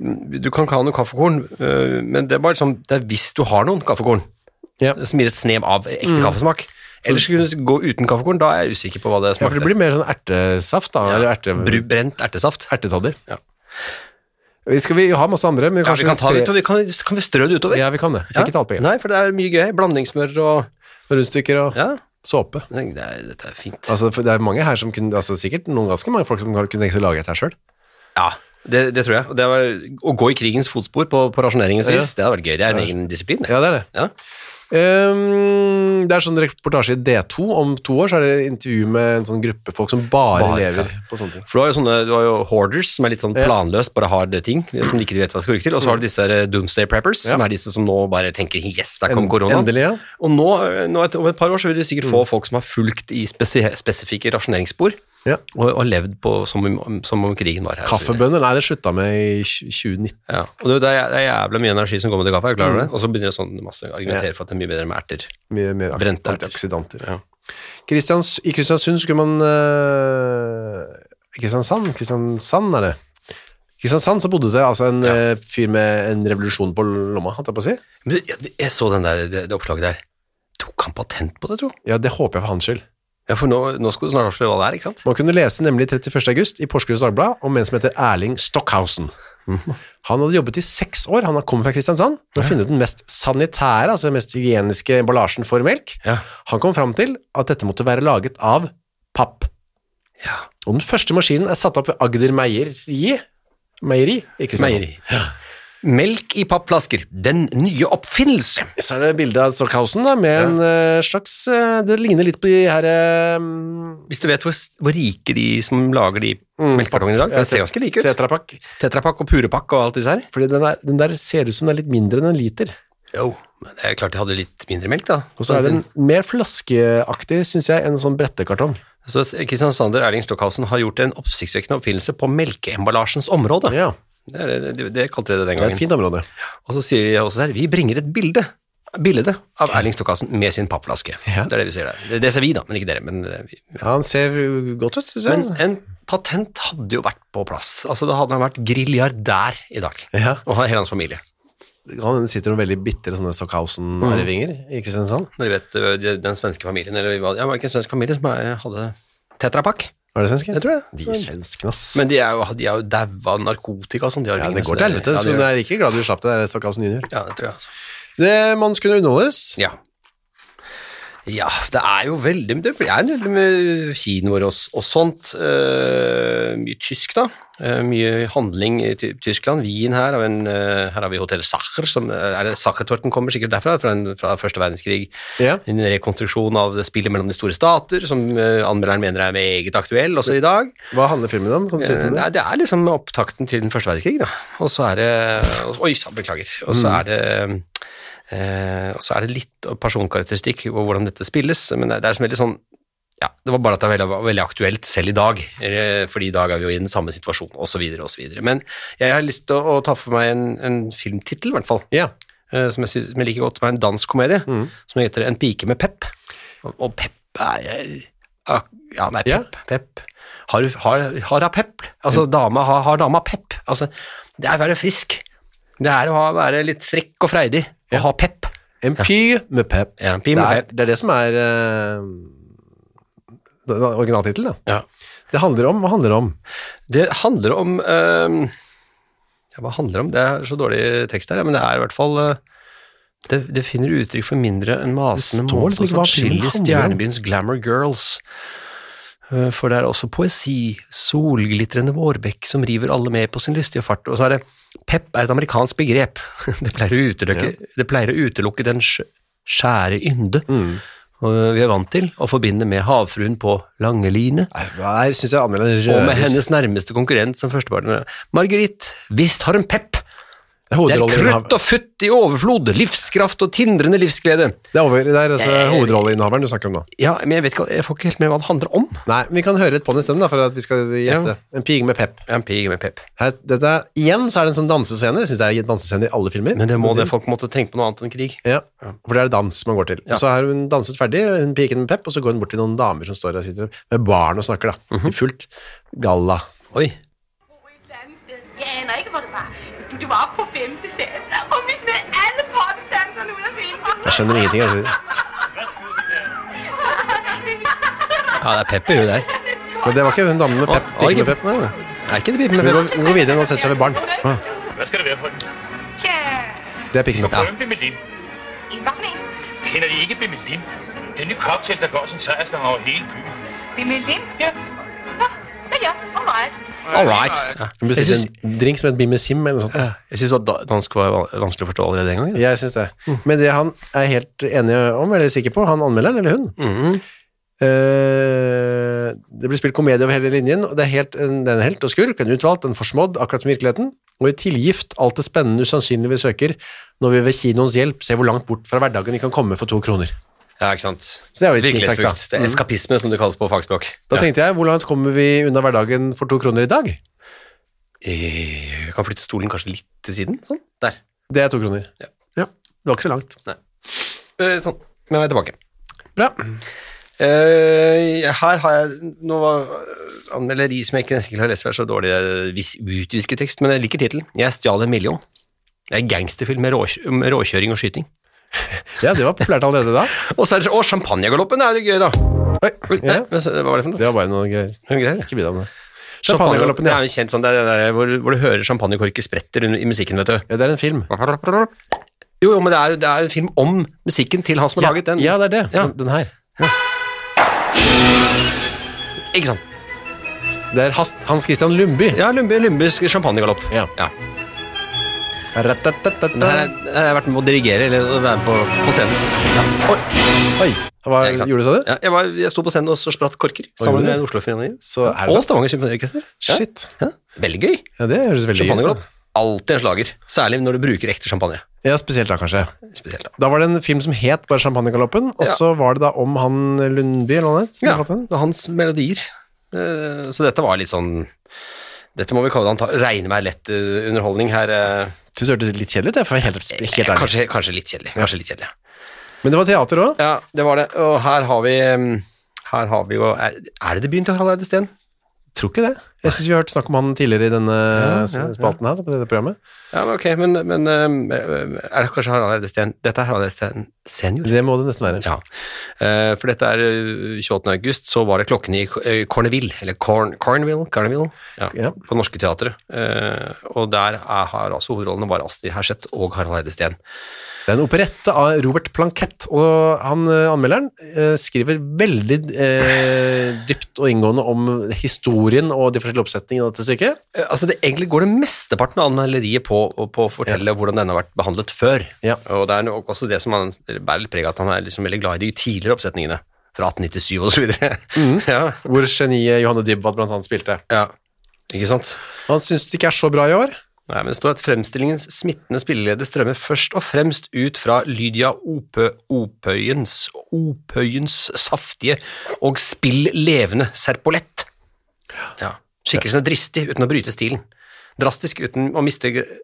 [SPEAKER 1] mm, du kan ikke ha noen kaffekorn, øh, men det er bare liksom, det er hvis du har noen kaffekorn,
[SPEAKER 2] Ja. Mm.
[SPEAKER 1] som gir et snev av ekte kaffesmak. Ellers skulle du gå uten kaffekorn, da er jeg usikker på hva det
[SPEAKER 2] Ja, for
[SPEAKER 1] smakte.
[SPEAKER 2] det blir mer sånn ertesaft, da. Eller erte,
[SPEAKER 1] Bru- Brent ertesaft.
[SPEAKER 2] ertetoddy.
[SPEAKER 1] Ja.
[SPEAKER 2] Vi Skal vi ha masse andre? Men
[SPEAKER 1] Ja, vi
[SPEAKER 2] kanskje
[SPEAKER 1] kan, ta
[SPEAKER 2] spre-
[SPEAKER 1] litt, og vi kan, kan vi strø det utover?
[SPEAKER 2] Ja, vi kan det. Vi
[SPEAKER 1] Ja.
[SPEAKER 2] trenger ikke ta alt på en gang.
[SPEAKER 1] Nei, for det er mye gøy. Blandingssmør og
[SPEAKER 2] Rundstykker og
[SPEAKER 1] Ja,
[SPEAKER 2] såpe.
[SPEAKER 1] det er, dette er fint.
[SPEAKER 2] Altså, for det er mange her som kunne, altså sikkert noen ganske mange folk som kunne tenke seg å lage dette her selv.
[SPEAKER 1] Ja, det, det tror jeg. Og Det var, å gå i krigens fotspor på, på rasjoneringens
[SPEAKER 2] Ja.
[SPEAKER 1] vis, det hadde vært gøy. Det er en egen disiplin, det.
[SPEAKER 2] Ja, det er det.
[SPEAKER 1] Ja.
[SPEAKER 2] Ehm, det er sånn reportasje i D2, om to år så er det intervju med en sånn gruppe folk som bare,
[SPEAKER 1] Bare,
[SPEAKER 2] lever
[SPEAKER 1] ja.
[SPEAKER 2] på sånne ting.
[SPEAKER 1] For du har jo sånne, du har jo hoarders, som er litt sånn
[SPEAKER 2] Ja. Mm.
[SPEAKER 1] planløst, bare har det ting som de ikke vet hva skal bruke til. Og så har du disse her, eh, doomsday preppers, som er disse som nå bare tenker yes, der kom koronaen.
[SPEAKER 2] Endelig, ja. Mm.
[SPEAKER 1] Og nå, eh, nå et, om et par år så vil du sikkert få folk som har fulgt i spesi spesifikke rasjoneringsspor,
[SPEAKER 2] ja.
[SPEAKER 1] og, og levd på, som, om, som om krigen var her. og så videre.
[SPEAKER 2] Kaffebønner, nei det slutta med i tj- 2019.
[SPEAKER 1] Ja, og det, det er det er jævla mye energi som går med det kaffe, er du klar over
[SPEAKER 2] Mm.
[SPEAKER 1] det? Og så begynner det sånn masse å argumentere for at det er mye bedre med erter.
[SPEAKER 2] Mye mer aks-
[SPEAKER 1] Brente erter.
[SPEAKER 2] antioksidanter.
[SPEAKER 1] Ja.
[SPEAKER 2] Kristians, I Kristiansund skulle man øh, Kristiansand? Kristiansand er det. Kristiansand så bodde det altså en øh, fyr med en revolusjon på lomma, holdt jeg på å si.
[SPEAKER 1] Men jeg, jeg så den der, det, det oppslaget der. Tok han patent på det, tro?
[SPEAKER 2] Ja, det håper jeg for hans skyld.
[SPEAKER 1] Ja, for nå, nå skal du snart avsløre hva det er, ikke sant?
[SPEAKER 2] Man kunne lese nemlig 31. august i Porsgrunns Dagblad om en som heter Erling
[SPEAKER 1] <laughs>
[SPEAKER 2] Stockhausen. Han hadde jobbet i seks år, han har kommet fra Kristiansand, og funnet den mest sanitære, altså den mest hygieniske emballasjen for melk.
[SPEAKER 1] Ja.
[SPEAKER 2] Han kom fram til at dette måtte være laget av papp.
[SPEAKER 1] Ja.
[SPEAKER 2] Og den første maskinen er satt opp ved Agder Meieri, Meieri i Kristiansand.
[SPEAKER 1] Meieri. Melk i pappflasker. Den nye oppfinnelse.
[SPEAKER 2] Så er det bildet av Stockhausen da, med
[SPEAKER 1] Ja.
[SPEAKER 2] en eh, slags, eh, det ligner litt på de her... eh,
[SPEAKER 1] Hvis du vet hvor, s- hvor rike de som lager de
[SPEAKER 2] Mm,
[SPEAKER 1] melkekartongene i dag,
[SPEAKER 2] ja,
[SPEAKER 1] for det ser ganske like ut.
[SPEAKER 2] Tetra Pak,
[SPEAKER 1] Tetrapakk og purepakk og alt disse her.
[SPEAKER 2] fordi den der, den der ser ut som den er litt mindre enn en liter.
[SPEAKER 1] Jo, men det er klart de hadde litt mindre melk da.
[SPEAKER 2] Og så er den mer flaskeaktig, synes jeg, enn en sånn brettekartong.
[SPEAKER 1] Så Kristian Sander Erling Stockhausen har gjort en oppsiktsvekkende oppfinnelse på melkeemballasjens område.
[SPEAKER 2] Ja,
[SPEAKER 1] Det, er, det- det, det kalte de Ah. det den
[SPEAKER 2] det er et
[SPEAKER 1] gangen.
[SPEAKER 2] fint område.
[SPEAKER 1] Og så sier de også her, vi bringer et bilde, bilde av Erling Stokkasen med sin pappflaske.
[SPEAKER 2] Ja.
[SPEAKER 1] Det er det vi sier der. Det, det ser vi da, men ikke dere. Men, eh, vi.
[SPEAKER 2] Ja, han ser godt ut, synes
[SPEAKER 1] men
[SPEAKER 2] jeg.
[SPEAKER 1] en patent hadde jo vært på plass. Altså, da hadde han vært grilliardær i dag.
[SPEAKER 2] Ja.
[SPEAKER 1] Og hele hans familie.
[SPEAKER 2] Han sitter noen veldig bittere sånne Stockhausen-arvinger
[SPEAKER 1] Mm.
[SPEAKER 2] i Kristiansand.
[SPEAKER 1] Når de vet eh, de- den svenske familien, eller hva- ja, var det ikke en svensk familie som eh, hadde tetrapakk?
[SPEAKER 2] Var det svensker?
[SPEAKER 1] Jeg tror det.
[SPEAKER 2] De svenskene, ass.
[SPEAKER 1] Men de er jo, de er jo daua av narkotika og sånn. de har
[SPEAKER 2] ja,
[SPEAKER 1] ingen
[SPEAKER 2] det går
[SPEAKER 1] nesten-
[SPEAKER 2] til helvete,
[SPEAKER 1] Ja, det
[SPEAKER 2] så du
[SPEAKER 1] gjør det.
[SPEAKER 2] er like glad du slapp det der Stockhausen junior.
[SPEAKER 1] Ja, det tror jeg, altså.
[SPEAKER 2] Det, man skulle underholdes.
[SPEAKER 1] Ja. Ja, det er jo veldig Det er en veldig med kinoer og, og sånt. Eh, mye tysk, da. Eh, mye handling i Ty- Tyskland. Wien her. Av en, eh, her har vi Hotell Sacher. Som, eh, er det Sachertorten kommer sikkert derfra, fra, en, fra første verdenskrig.
[SPEAKER 2] Ja.
[SPEAKER 1] En rekonstruksjon av det spillet mellom de store stater, som eh, anmelderen mener er meget aktuell også i dag.
[SPEAKER 2] Hva handler filmen om? Kan du si
[SPEAKER 1] Eh,
[SPEAKER 2] litt om
[SPEAKER 1] Det
[SPEAKER 2] det?
[SPEAKER 1] er, det er liksom opptakten til den første verdenskrig, da. Og så er det og- Oi sann, beklager. Og så er det eh, Og så er det litt personkarakteristikk og hvordan dette spilles, men det er, det er som veldig sånn ja, Det var bare at det er veldig, var veldig aktuelt selv i dag, eh, fordi i dag er vi jo i den samme situasjonen, osv., osv. Men jeg har lyst til å, å ta for meg en, en filmtittel, i hvert fall,
[SPEAKER 2] Ja.
[SPEAKER 1] eh, som jeg, synes, som jeg liker godt, som er en dansk komedie,
[SPEAKER 2] Mm.
[SPEAKER 1] som heter En pike med pep. Og, og pep er jeg- ak- Ja, nei,
[SPEAKER 2] Ja. Mm.
[SPEAKER 1] pep. pep. Har, du- har, har hun pep? Altså, dama, har, har dama pep? Altså, det er å være frisk. Det er å ha, være litt frekk og freidig og
[SPEAKER 2] Ja.
[SPEAKER 1] ha pep.
[SPEAKER 2] En py med pep.
[SPEAKER 1] Ja, en
[SPEAKER 2] Det
[SPEAKER 1] pike med
[SPEAKER 2] er,
[SPEAKER 1] pep.
[SPEAKER 2] det er det som er uh, originaltittelen, da.
[SPEAKER 1] Ja.
[SPEAKER 2] Det handler om Hva handler det om?
[SPEAKER 1] Det handler om eh, ja, Hva handler det om? Det er så dårlig tekst her, ja, men det er i hvert fall eh, det, det finner uttrykk for mindre enn masende
[SPEAKER 2] Det står
[SPEAKER 1] mål
[SPEAKER 2] liksom
[SPEAKER 1] som
[SPEAKER 2] ikke hva filmen
[SPEAKER 1] skiller
[SPEAKER 2] handler om.
[SPEAKER 1] stjernebyens glamour girls. Eh, For det er også poesi, solglitrende vårbekk som river alle med på sin lystige fart. Og så er det pep er et amerikansk begrep. <laughs> Det pleier å utelukke, det pleier å utelukke den skj- skjære ynde
[SPEAKER 2] Mm.
[SPEAKER 1] eh, vi er vant til å forbinde med havfruen på Langeline.
[SPEAKER 2] Nei, Der syns jeg anmelderen
[SPEAKER 1] Og med
[SPEAKER 2] rører.
[SPEAKER 1] hennes nærmeste konkurrent som førstepartner. Marguerite, visst har hun pep.
[SPEAKER 2] Det er
[SPEAKER 1] Det er
[SPEAKER 2] hovedrolleinnehaver-
[SPEAKER 1] krutt og futt i overflod, livskraft og tindrende livsglede.
[SPEAKER 2] Det er, over, det er altså
[SPEAKER 1] Eh.
[SPEAKER 2] hovedrolleinnehaveren du snakker om nå.
[SPEAKER 1] Ja, men jeg vet ikke, jeg får ikke helt med hva det handler om.
[SPEAKER 2] Nei, men vi kan høre litt på den isteden, da, for at vi skal
[SPEAKER 1] Ja.
[SPEAKER 2] gjette. En pige med pep.
[SPEAKER 1] En pige med pep.
[SPEAKER 2] Her, dette er, igjen så er det en sånn dansescene. Jeg syns det er dansescener i alle filmer.
[SPEAKER 1] Men det må det, folk måtte tenke på noe annet enn krig.
[SPEAKER 2] Ja, for det er dans man går til. Og Så har hun danset ferdig, hun piken med pep, og så går hun bort til noen damer som står og sitter med barn og snakker, da. I
[SPEAKER 1] Mhm.
[SPEAKER 2] fullt galla.
[SPEAKER 1] Oi.
[SPEAKER 3] bor et eller andet sted. Jeg aner ikke, hvor det var. Du, det var oppe på femte sal. Og vi smed alle pottedanserne ud af vinduet.
[SPEAKER 2] Jeg skjønner ingenting, altså.
[SPEAKER 1] Ja, det er pep i huet der.
[SPEAKER 2] Men det var ikke hun damen med pep.
[SPEAKER 1] Oi,
[SPEAKER 2] Piken med pep.
[SPEAKER 1] Nei, nei. Er ikke det piken
[SPEAKER 2] Hun
[SPEAKER 1] med
[SPEAKER 2] går,
[SPEAKER 1] pep?
[SPEAKER 2] hun går videre og setter seg ved barn.
[SPEAKER 4] Hvad skal det være for den?
[SPEAKER 3] Ja.
[SPEAKER 2] Det er piken med pep.
[SPEAKER 4] Prøven Bimmelim.
[SPEAKER 3] I hvad for en?
[SPEAKER 4] Kender de ikke Bimmelim? Det er en ny cocktail, der går sin sejrslange over hele byen.
[SPEAKER 3] Det er med lim. Ja. Nå, ja, ja. All right.
[SPEAKER 1] All right. Ja.
[SPEAKER 2] Hun
[SPEAKER 1] Jeg syns-
[SPEAKER 2] bestilte en drink som het Bimmesim eller noe sånt.
[SPEAKER 1] jeg syns at da- dansk var van- vanskelig å forstå allerede den gangen.
[SPEAKER 2] Jeg syns det. Men det han er helt enig om, eller sikker på, han anmelderen eller hun,
[SPEAKER 1] Mhm.
[SPEAKER 2] Eh, det blir spilt komedie over hele linjen, og det er, helt, en, det er en helt og skurk, en utvalgt, en forsmådd, akkurat som i virkeligheten. Og i tilgift alt det spennende usannsynlige vi søker, når vi ved kinoens hjelp ser hvor langt bort fra hverdagen vi kan komme for to kroner.
[SPEAKER 1] Ja, ikke sant.
[SPEAKER 2] Så det er jo litt fint sagt, da. Mm.
[SPEAKER 1] Virkelighetsflukt. Det er eskapisme, som det kalles på fagspråk.
[SPEAKER 2] Da tenkte jeg, hvor langt kommer vi unna hverdagen for to kroner i dag?
[SPEAKER 1] Eh, Kan flytte stolen kanskje litt til siden? Sånn. Der.
[SPEAKER 2] Det er to kroner.
[SPEAKER 1] Ja.
[SPEAKER 2] Det var ikke så langt.
[SPEAKER 1] Eh, Sånn. Men jeg er tilbake.
[SPEAKER 2] Bra.
[SPEAKER 1] Eh, her har jeg noe eh, anmelderi som jeg ikke nesten ikke har lest, for det er så dårlig eh, vis- utvisket tekst, men jeg liker tittelen. 'Jeg stjal en million'. Det er en gangsterfilm med, rå, med råkjøring og skyting.
[SPEAKER 2] Ja, det var populært allerede da.
[SPEAKER 1] Og så er det så, å, champagnegaloppen er jo gøy, da!
[SPEAKER 2] Oi, ja,
[SPEAKER 1] Nei, men så- Hva var det for
[SPEAKER 2] det
[SPEAKER 1] noe?
[SPEAKER 2] var bare noen greier.
[SPEAKER 1] Noen greier.
[SPEAKER 2] Ikke bry deg om det. Champagnegaloppen,
[SPEAKER 1] det
[SPEAKER 2] ja.
[SPEAKER 1] er jo kjent sånn, det er det der hvor, hvor du hører champagnekorker spretter under, i musikken, vet du.
[SPEAKER 2] ja. Det er en film.
[SPEAKER 1] Jo, jo, men det er jo det er jo en film om musikken til han som har laget den.
[SPEAKER 2] Ja, det er det.
[SPEAKER 1] Ja.
[SPEAKER 2] Den, den her.
[SPEAKER 1] Ikke sant?
[SPEAKER 2] Det er Hast, Hans Christian Lundby.
[SPEAKER 1] Ja, Lundby, Lundbys champagnegalopp.
[SPEAKER 2] Ja.
[SPEAKER 1] Ja.
[SPEAKER 2] Ratatatata.
[SPEAKER 1] Den her er- den her har jeg vært med å dirigere, eller å være med på, på scenen. Ja. Oi.
[SPEAKER 2] Oi, hva
[SPEAKER 1] Ja, ikke sant.
[SPEAKER 2] gjorde du, sa du?
[SPEAKER 1] Ja, jeg, var, jeg sto på scenen og så spratt korker sammen
[SPEAKER 2] gjorde
[SPEAKER 1] med
[SPEAKER 2] du?
[SPEAKER 1] Oslo Filharmonien.
[SPEAKER 2] Så er det
[SPEAKER 1] Og
[SPEAKER 2] sant?
[SPEAKER 1] Stavanger Symfoniorkester. Ja.
[SPEAKER 2] Shit.
[SPEAKER 1] Ja. Veldig gøy.
[SPEAKER 2] Ja, det høres veldig gøy ut.
[SPEAKER 1] Champagneglopp. Alltid en slager. Særlig når du bruker ekte champagne.
[SPEAKER 2] da. Ja, spesielt da, kanskje.
[SPEAKER 1] Spesielt. da.
[SPEAKER 2] Da var det en film som het bare Champagnegaloppen, og
[SPEAKER 1] Ja.
[SPEAKER 2] så var det da om han Lundby, eller noe annet, som
[SPEAKER 1] Ja,
[SPEAKER 2] kalte den.
[SPEAKER 1] og hans melodier. Eh, Så dette var litt sånn Dette må vi kalle det anta- regne meg lett eh, underholdning her. eh.
[SPEAKER 2] Du hørte litt kjedelig ut, jeg, for å være helt, helt ærlig.
[SPEAKER 1] Kanskje, kanskje litt kjedelig. Kanskje litt kjedelig.
[SPEAKER 2] Men det var teater også.
[SPEAKER 1] Ja, det var det. mm, Og her har vi eh, her har vi jo Er, er det debuten til Harald Eide Steen?
[SPEAKER 2] Tror ikke det. Jeg syns vi har hørt snakk om han tidligere i denne
[SPEAKER 1] ja, ja.
[SPEAKER 2] spalten her. på dette programmet.
[SPEAKER 1] Ja, men ok, men, men eh, er det kanskje Harald Eide Steen? Dette er Harald Eide Steen senior?
[SPEAKER 2] Det må det nesten være.
[SPEAKER 1] Ja, Eh, for dette er eh, 28. august, så var det klokken i eh, Corneville, eller Corn, Cornville, Cornville ja,
[SPEAKER 2] Ja.
[SPEAKER 1] på Norske Teatret. Eh, og der er, har altså hovedrollene bare Astrid Herseth og Harald Eide Steen.
[SPEAKER 2] Det er en operette av Robert Plankett, og han, eh, anmelderen eh, skriver veldig eh, dypt og inngående om historien og de forskjellige oppsetningene av dette stykket.
[SPEAKER 1] Eh, altså, det, egentlig går det mesteparten av anmelderiet på, på å fortelle hvordan denne har vært behandlet før.
[SPEAKER 2] Ja.
[SPEAKER 1] Og det er nok også det som han bærer litt preg av at han er liksom veldig glad i de tidligere oppsetningene, fra 1897 og så videre. <laughs> ja,
[SPEAKER 2] Hvor geniet Johanne Dibwad blant annet spilte.
[SPEAKER 1] ja, ikke sant?
[SPEAKER 2] Han syns det ikke er så bra i år.
[SPEAKER 1] Nei, men det står at fremstillingens smittende spilleleder strømmer først og fremst ut fra Lydia Ope, Opøyens, Opøyens saftige og spill levende serpolett. Ja. Skikkelsen er dristig uten å bryte stilen. Drastisk uten å miste gr-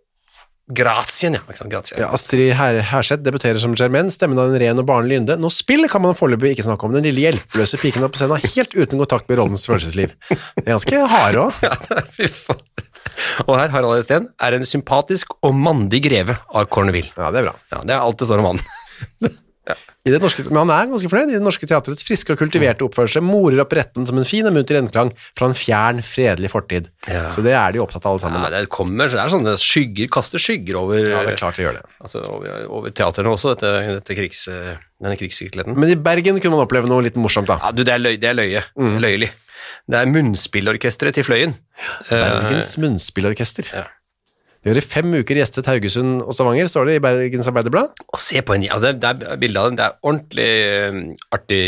[SPEAKER 1] grazien, ja. Ikke sant? Grazien.
[SPEAKER 2] Ja, Astrid Her Herseth debuterer som Germaine, stemmen av en ren og barnlig ynde. Nå spill kan man foreløpig ikke snakke om. Den lille hjelpeløse piken er på scenen helt uten kontakt med rollens følelsesliv. Det er ganske harde òg.
[SPEAKER 1] <laughs> Ja, det er- fy faen. Og her, Harald Esten, er en sympatisk og mandig greve av Corneville.
[SPEAKER 2] Ja, det er bra.
[SPEAKER 1] Ja, det er alt det står om han.
[SPEAKER 2] I det norske, men han er ganske fornøyd i det norske teatrets friske og kultiverte oppførsel, morer opp retten som en fin og munter gjenklang fra en fjern, fredelig fortid.
[SPEAKER 1] Ja.
[SPEAKER 2] Så det er de jo opptatt av alle sammen.
[SPEAKER 1] Ja,
[SPEAKER 2] da.
[SPEAKER 1] det kommer, det er sånne skygger, kaster skygger over
[SPEAKER 2] Ja, det er klart de gjør det.
[SPEAKER 1] altså over, over teaterne også, dette, dette krigs, denne krigsvirkeligheten.
[SPEAKER 2] Men i Bergen kunne man oppleve noe litt morsomt, da.
[SPEAKER 1] Ja, du, det er, løy, det er løye.
[SPEAKER 2] Mm.
[SPEAKER 1] Løyelig. Det er munnspillorkestret til Fløyen.
[SPEAKER 2] Bergens Munnspillorkester.
[SPEAKER 1] Eh, ja.
[SPEAKER 2] De har i fem uker gjestet Haugesund og Stavanger, står det i Bergens Arbeiderblad.
[SPEAKER 1] Eh, og se på en gjeng, altså, det, det er bilder av dem, det er ordentlig eh, artig,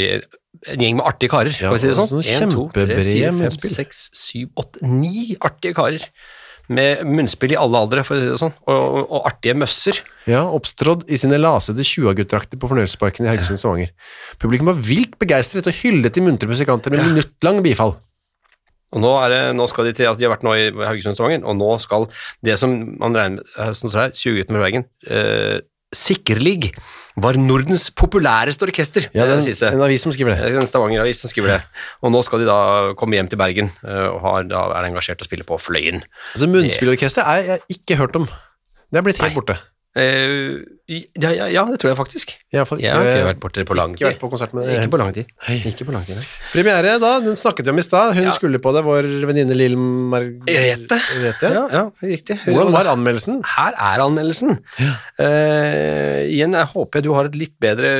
[SPEAKER 1] en gjeng med artige karer,
[SPEAKER 2] Ja,
[SPEAKER 1] kan vi si det sånn?
[SPEAKER 2] sånn
[SPEAKER 1] En, to, tre,
[SPEAKER 2] kjempebrede
[SPEAKER 1] fire, fem,
[SPEAKER 2] munnspill.
[SPEAKER 1] seks, syv, åtte, ni artige karer. Med munnspill i alle aldre, for å si det sånn, og, og, og artige møsser.
[SPEAKER 2] Ja, oppstrådd i sine lasede 20-guttdrakter på fornøyelsesparken i Haugesund og Stavanger. Publikum var vilt begeistret og hyllet de muntre musikanter med minuttlang bifall.
[SPEAKER 1] Og nå, er det, nå skal de til, altså de har vært nå i Haugesund og Stavanger, og nå skal det som man regner med, eh, som står her, 20-gutten med Bergen, eh, Sikkerlig var Nordens populæreste orkester. det
[SPEAKER 2] Ja,
[SPEAKER 1] er
[SPEAKER 2] det
[SPEAKER 1] det siste.
[SPEAKER 2] er en avis som skriver
[SPEAKER 1] Det
[SPEAKER 2] det.
[SPEAKER 1] er En Stavanger-avis som skriver det. Og nå skal de da komme hjem til Bergen, eh, og har, da er det engasjert å spille på Fløyen.
[SPEAKER 2] Altså, munnspillorkester er jeg ikke hørt om. Det er blitt helt borte.
[SPEAKER 1] Eh, ja, ja, ja, det tror jeg faktisk.
[SPEAKER 2] Jeg har i hvert fall
[SPEAKER 1] Jeg har ikke vært borte på lang
[SPEAKER 2] ikke vært
[SPEAKER 1] tid.
[SPEAKER 2] på konsert med
[SPEAKER 1] Ikke på lang tid.
[SPEAKER 2] Ikke på lang tid, nei. Premiere, da. Den snakket vi om i stad. Hun
[SPEAKER 1] Ja.
[SPEAKER 2] skulle på det, vår venninne Lill Margrethe.
[SPEAKER 1] Rete.
[SPEAKER 2] ja.
[SPEAKER 1] Ja, ja, riktig.
[SPEAKER 2] Hvordan var anmeldelsen?
[SPEAKER 1] her er anmeldelsen. Eh, igjen, jeg håper du har et litt bedre,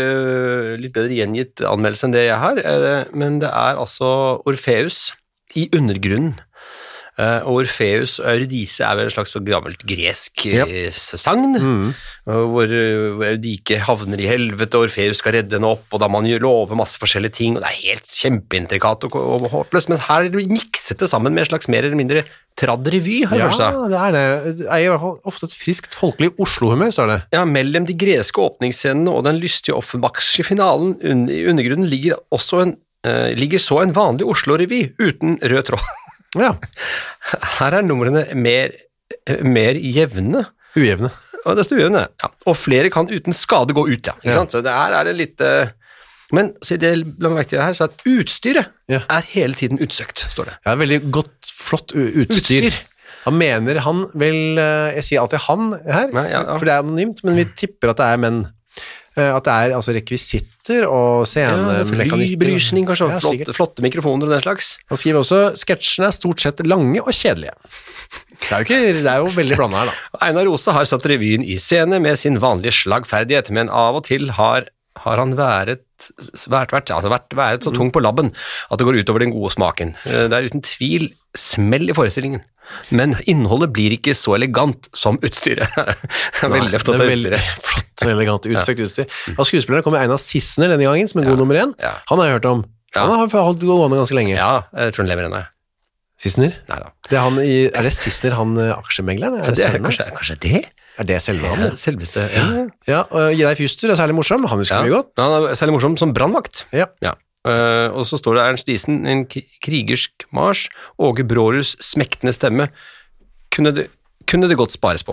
[SPEAKER 1] litt bedre gjengitt anmeldelse enn det jeg har, eh, men det er altså Orfeus i undergrunnen. Eh, og Orfeus og Eurydice er vel en slags så gammelt gresk eh, sagn, eh, hvor eh, hvor Eurydike havner i helvete, og Orfeus skal redde henne opp, og da må han jo love masse forskjellige ting, og det er helt kjempeintrikat og, og håpløst, men her er det mikset det sammen med en slags mer eller mindre tradd revy, har jeg
[SPEAKER 2] Ja,
[SPEAKER 1] følelse av.
[SPEAKER 2] det er det. Det er i hvert fall ofte et friskt folkelig Oslo-humør, står det.
[SPEAKER 1] Ja, Mellom de greske åpningsscenene og den lystige offenbachske finalen un- i undergrunnen ligger, også en, eh, ligger så en vanlig Oslo-revy uten rød tråd. <laughs>
[SPEAKER 2] Ja.
[SPEAKER 1] Her er numrene mer, eh, mer jevne.
[SPEAKER 2] Ujevne.
[SPEAKER 1] Og, dette ujevne. Ja. og flere kan uten skade gå ut, ja. Ikke
[SPEAKER 2] Ja.
[SPEAKER 1] sant? Så det her er det litt eh, Men så det, la meg merke til det her, så at utstyret
[SPEAKER 2] Ja.
[SPEAKER 1] er hele tiden utsøkt, står det.
[SPEAKER 2] Ja, veldig godt, flott u- utstyr.
[SPEAKER 1] Utstyr.
[SPEAKER 2] Han mener han vel eh, Jeg sier alltid han her,
[SPEAKER 1] Nei, ja, ja.
[SPEAKER 2] for det er anonymt, men vi tipper at det er menn. Eh, At det er altså rekvisitter og scenemekanikker.
[SPEAKER 1] Flybelysning, kanskje.
[SPEAKER 2] Ja, sikkert.
[SPEAKER 1] flotte, flotte mikrofoner og den slags.
[SPEAKER 2] Han skriver også sketsjene er stort sett lange og kjedelige. Det er jo, ikke, det er jo veldig blanda her, da.
[SPEAKER 1] Einar Ose har satt revyen i scene med sin vanlige slagferdighet, men av og til har, har han været, vært, vært, altså vært, været så tung på labben at det går utover den gode smaken. Eh, Det er uten tvil smell i forestillingen, men innholdet blir ikke så elegant som utstyret. <laughs> <laughs> Veldig
[SPEAKER 2] Nei,
[SPEAKER 1] opptatt
[SPEAKER 2] det
[SPEAKER 1] av
[SPEAKER 2] er veldig <laughs>
[SPEAKER 1] utstyret.
[SPEAKER 2] flott og elegant utsøkt utstyr. Av skuespillerne kommer Einar Sissener denne gangen, som en god nummer én.
[SPEAKER 1] ja.
[SPEAKER 2] Han har jeg hørt om.
[SPEAKER 1] Ja.
[SPEAKER 2] Han har holdt gående ganske lenge.
[SPEAKER 1] Ja, jeg tror han lever ennå.
[SPEAKER 2] Sissener?
[SPEAKER 1] Nei da.
[SPEAKER 2] Det er, han i, er det Sissener, han eh, aksjemegleren? Er
[SPEAKER 1] Det
[SPEAKER 2] det,
[SPEAKER 1] er
[SPEAKER 2] sønnen hans?
[SPEAKER 1] kanskje, kanskje det?
[SPEAKER 2] er det selve han?
[SPEAKER 1] Ja, Selveste ja.
[SPEAKER 2] Ja, og Geir Fuster er særlig morsom, han husker
[SPEAKER 1] Ja.
[SPEAKER 2] vi godt.
[SPEAKER 1] Han er særlig morsom som brannvakt.
[SPEAKER 2] Ja.
[SPEAKER 1] Ja. Eh, og så står det Ernst Diesen, en k- krigersk marsj, Åge Brårus smektende stemme. Kunne det, kunne det godt spares
[SPEAKER 2] <laughs>
[SPEAKER 1] på.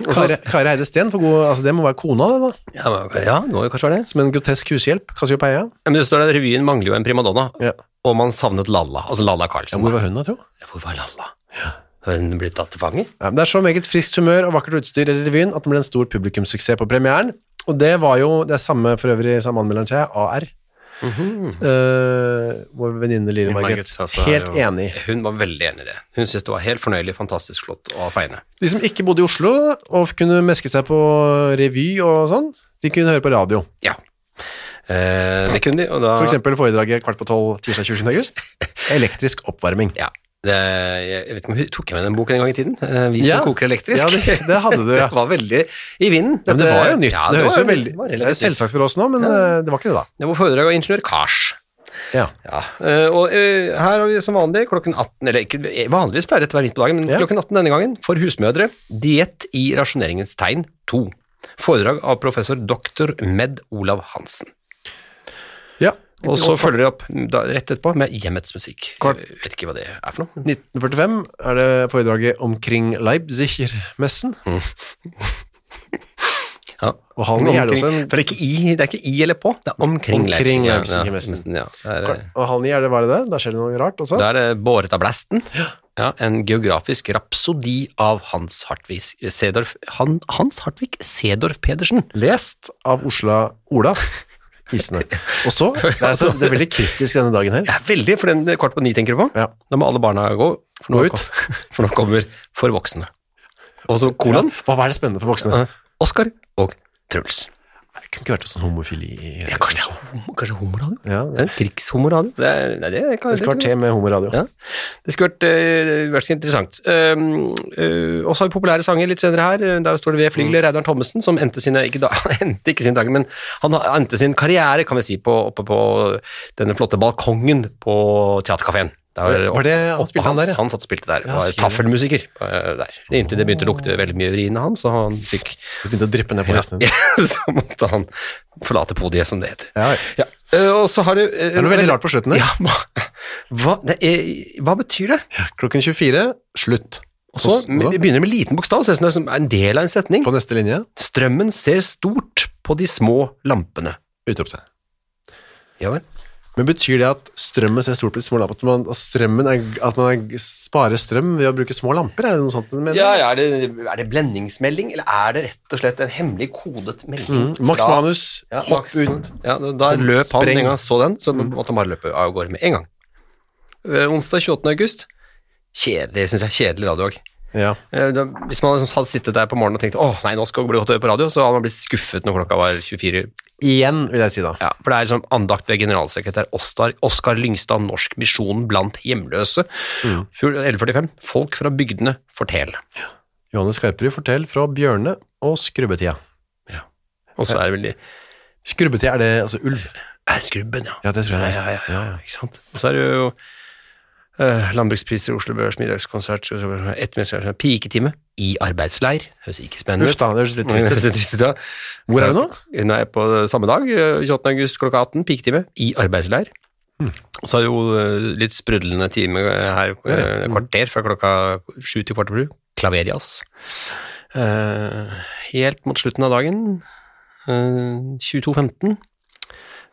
[SPEAKER 1] Og så-
[SPEAKER 2] Kari, Kari Eide Steen, for god, altså det må være kona det da,
[SPEAKER 1] ja, men- ja, det må jo kanskje være det.
[SPEAKER 2] som en grotesk hushjelp, Cassiopeia.
[SPEAKER 1] Men det står der, revyen mangler jo en primadonna.
[SPEAKER 2] Ja.
[SPEAKER 1] og man savnet Lalla, altså Lalla
[SPEAKER 2] Ja,
[SPEAKER 1] Carlsen.
[SPEAKER 2] hvor var hun da, tro?
[SPEAKER 1] Ja, hvor var Lalla? Har hun blitt tatt til fange?
[SPEAKER 2] Ja, men det er så meget friskt humør og vakkert utstyr i revyen at det ble en stor publikumssuksess på premieren. Og det var jo det er samme for øvrig samme anmelderen til jeg, AR. Eh, vår venninne Lille
[SPEAKER 1] Mhm. Margrethe
[SPEAKER 2] Margrethe.
[SPEAKER 1] Sassa er
[SPEAKER 2] Helt
[SPEAKER 1] jo-
[SPEAKER 2] enig.
[SPEAKER 1] Hun var veldig enig i det. Hun syntes det var helt fornøyelig, fantastisk flott å feine.
[SPEAKER 2] De som ikke bodde i Oslo og kunne meske seg på revy og sånn, de kunne høre på radio.
[SPEAKER 1] Ja. Eh, det kunne de, og da
[SPEAKER 2] For eksempel foredraget kvart på tolv tirsdag 27. august. Elektrisk oppvarming.
[SPEAKER 1] Ja. Det, jeg, jeg vet ikke om hun tok med den boken en gang i tiden. eh, Vi som
[SPEAKER 2] Ja.
[SPEAKER 1] koker elektrisk.
[SPEAKER 2] Ja, det- det hadde du,
[SPEAKER 1] <laughs>
[SPEAKER 2] ja.
[SPEAKER 1] det var veldig i vinden.
[SPEAKER 2] Ja, men det
[SPEAKER 1] dette-
[SPEAKER 2] var jo nytt.
[SPEAKER 1] Ja,
[SPEAKER 2] det, høres
[SPEAKER 1] var-
[SPEAKER 2] jo veldig,
[SPEAKER 1] det var
[SPEAKER 2] det er jo
[SPEAKER 1] relativt nytt.
[SPEAKER 2] selvsagt for oss nå, men eh, det var ikke det da.
[SPEAKER 1] Det var foredrag av ingeniør Kars.
[SPEAKER 2] Ja.
[SPEAKER 1] Ja, eh, og eh, her har vi som vanlig klokken 18, eller ikke, eh, vanligvis pleier dette å være midt på dagen, men
[SPEAKER 2] Ja.
[SPEAKER 1] klokken 18 denne gangen, for husmødre, diett i rasjoneringens tegn 2. Foredrag av professor dr. Med Olav Hansen.
[SPEAKER 2] ja.
[SPEAKER 1] Og så følger de opp mm, da, rett etterpå med Hjemmets musikk.
[SPEAKER 2] Kort.
[SPEAKER 1] Jeg vet ikke hva det er for noe.
[SPEAKER 2] 1945 er det foredraget omkring Leipziger-messen.
[SPEAKER 1] Ja.
[SPEAKER 2] Og halv ni er det
[SPEAKER 1] Omkring-
[SPEAKER 2] også en-
[SPEAKER 1] For det er, ikke i, det er ikke i eller på, det er omkring,
[SPEAKER 2] Omkring
[SPEAKER 1] Leipzig.
[SPEAKER 2] Leipzig, Vesten.
[SPEAKER 1] Ja, ja. Det er, eh,
[SPEAKER 2] Og halv ni er det bare det. Da skjer det noe rart også.
[SPEAKER 1] Da er det eh, Båret av blæsten. Ja, en geografisk rapsodi av Hans Hartvig Sedorf, han, Hans Hartvig Sedorf Pedersen.
[SPEAKER 2] Lest av Osla Ola Isene.
[SPEAKER 1] <laughs>
[SPEAKER 2] Og så det er, så, det er veldig kryptisk denne dagen her.
[SPEAKER 1] Ja, veldig, for den kvart på ni tenker du på.
[SPEAKER 2] Ja.
[SPEAKER 1] Da må alle barna gå, for nå,
[SPEAKER 2] Gå ut.
[SPEAKER 1] kom- <laughs> for nå kommer for voksne. Og så kolon,
[SPEAKER 2] Ja, Hva hva er det spennende for
[SPEAKER 1] eh,
[SPEAKER 2] voksne?
[SPEAKER 1] Oskar og Truls.
[SPEAKER 2] Det kunne ikke vært sånn homofili
[SPEAKER 1] Ja, kanskje det er homo, kanskje homoradio?
[SPEAKER 2] ja,
[SPEAKER 1] Det er en krigshomoradio. Det, er- nei, det, kan-
[SPEAKER 2] Et
[SPEAKER 1] det kan-
[SPEAKER 2] kvarter med homoradio.
[SPEAKER 1] Ja. Det skulle vært, eh, vært interessant. Um, eh, og så har vi populære sanger litt senere her. Eh, Der står det ved
[SPEAKER 2] Mm.
[SPEAKER 1] flygelet Reidar Thommessen, som endte, sine, ikke da, <laughs> endte ikke sine dager, men han har- endte sin karriere, kan vi si, på, oppe på denne flotte balkongen på Theatercaféen. Der,
[SPEAKER 2] Var det han spilte han der, ja?
[SPEAKER 1] Han satt og spilte der.
[SPEAKER 2] Ja,
[SPEAKER 1] var
[SPEAKER 2] sier det.
[SPEAKER 1] taffelmusiker eh, der. Inntil det begynte å lukte veldig mye urin av han, så han fikk
[SPEAKER 2] Det begynte å dryppe ned på
[SPEAKER 1] ja, <laughs>
[SPEAKER 2] gjestene.
[SPEAKER 1] Så måtte han forlate podiet, som det heter.
[SPEAKER 2] Ja.
[SPEAKER 1] Ja. Eh, og så har du
[SPEAKER 2] Det er noe veldig rart på slutten her.
[SPEAKER 1] Ja, hva, <laughs> hva, det er, hva betyr det?
[SPEAKER 2] Klokken 24, slutt.
[SPEAKER 1] Og så begynner det med liten bokstav, ser ut som det er som en del av en setning.
[SPEAKER 2] på neste linje,
[SPEAKER 1] Strømmen ser stort på de små lampene.
[SPEAKER 2] utropstegn.
[SPEAKER 1] Ja vel.
[SPEAKER 2] Men betyr det at strømmen ser stort på de små lampene? At man, at strømmen er, at man er, sparer strøm ved å bruke små lamper? Er det noe sånt du mener?
[SPEAKER 1] Ja, ja, er, det, er det blendingsmelding, eller er det rett og slett en hemmelig kodet melding?
[SPEAKER 2] Mm. Max
[SPEAKER 1] fra-
[SPEAKER 2] Manus,
[SPEAKER 1] Ja,
[SPEAKER 2] hopp
[SPEAKER 1] Max
[SPEAKER 2] ut.
[SPEAKER 1] Manus. Ja, da, da
[SPEAKER 2] Som
[SPEAKER 1] løp han
[SPEAKER 2] spreng.
[SPEAKER 1] en gang han så den, så måtte han bare løpe av gårde med en gang. Eh, onsdag 28. august. Kjedelig, syns jeg. Kjedelig radio òg.
[SPEAKER 2] Ja.
[SPEAKER 1] Eh, da- Hvis man liksom hadde sittet der på morgenen og tenkt åh, nei, nå skal det bli godt å høre på radio, så hadde man blitt skuffet når klokka var 24.
[SPEAKER 2] Igjen, vil jeg si da.
[SPEAKER 1] Ja, for det er liksom andakt ved generalsekretær Ostar, Oskar Lyngstad om Norsk Misjon blant hjemløse. Fjor- 1145. Folk fra bygdene, fortel.
[SPEAKER 2] Johannes Skarperud forteller fra Bjørne og Skrubbetida.
[SPEAKER 1] Og så er det vel de
[SPEAKER 2] Skrubbetida, er det altså ulv?
[SPEAKER 1] Er skrubben, ja.
[SPEAKER 2] Ja, det tror
[SPEAKER 1] Ja,
[SPEAKER 2] jeg det
[SPEAKER 1] ja,
[SPEAKER 2] er.
[SPEAKER 1] ja, ja, ikke sant. Og så er det jo eh, landbrukspriser, Oslo Børs, middagskonsert, så- så- ettermiddagskonsert, piketime i arbeidsleir. Høres ikke spennende
[SPEAKER 2] Uff
[SPEAKER 1] ut.
[SPEAKER 2] da, det høres litt
[SPEAKER 1] Det
[SPEAKER 2] trist ut.
[SPEAKER 1] høres litt trist ut, ja.
[SPEAKER 2] Hvor er det nå?
[SPEAKER 1] Nå er jeg Eh, på samme dag, eh, 28. august klokka 18, piketime, i arbeidsleir.
[SPEAKER 2] Hmm.
[SPEAKER 1] Så er det jo eh, litt sprudlende time eh, her, eh,
[SPEAKER 2] Hmm.
[SPEAKER 1] kvarter fra klokka sju til kvart over sju. Klaverjazz. Eh, helt mot slutten av dagen, eh, 22.15.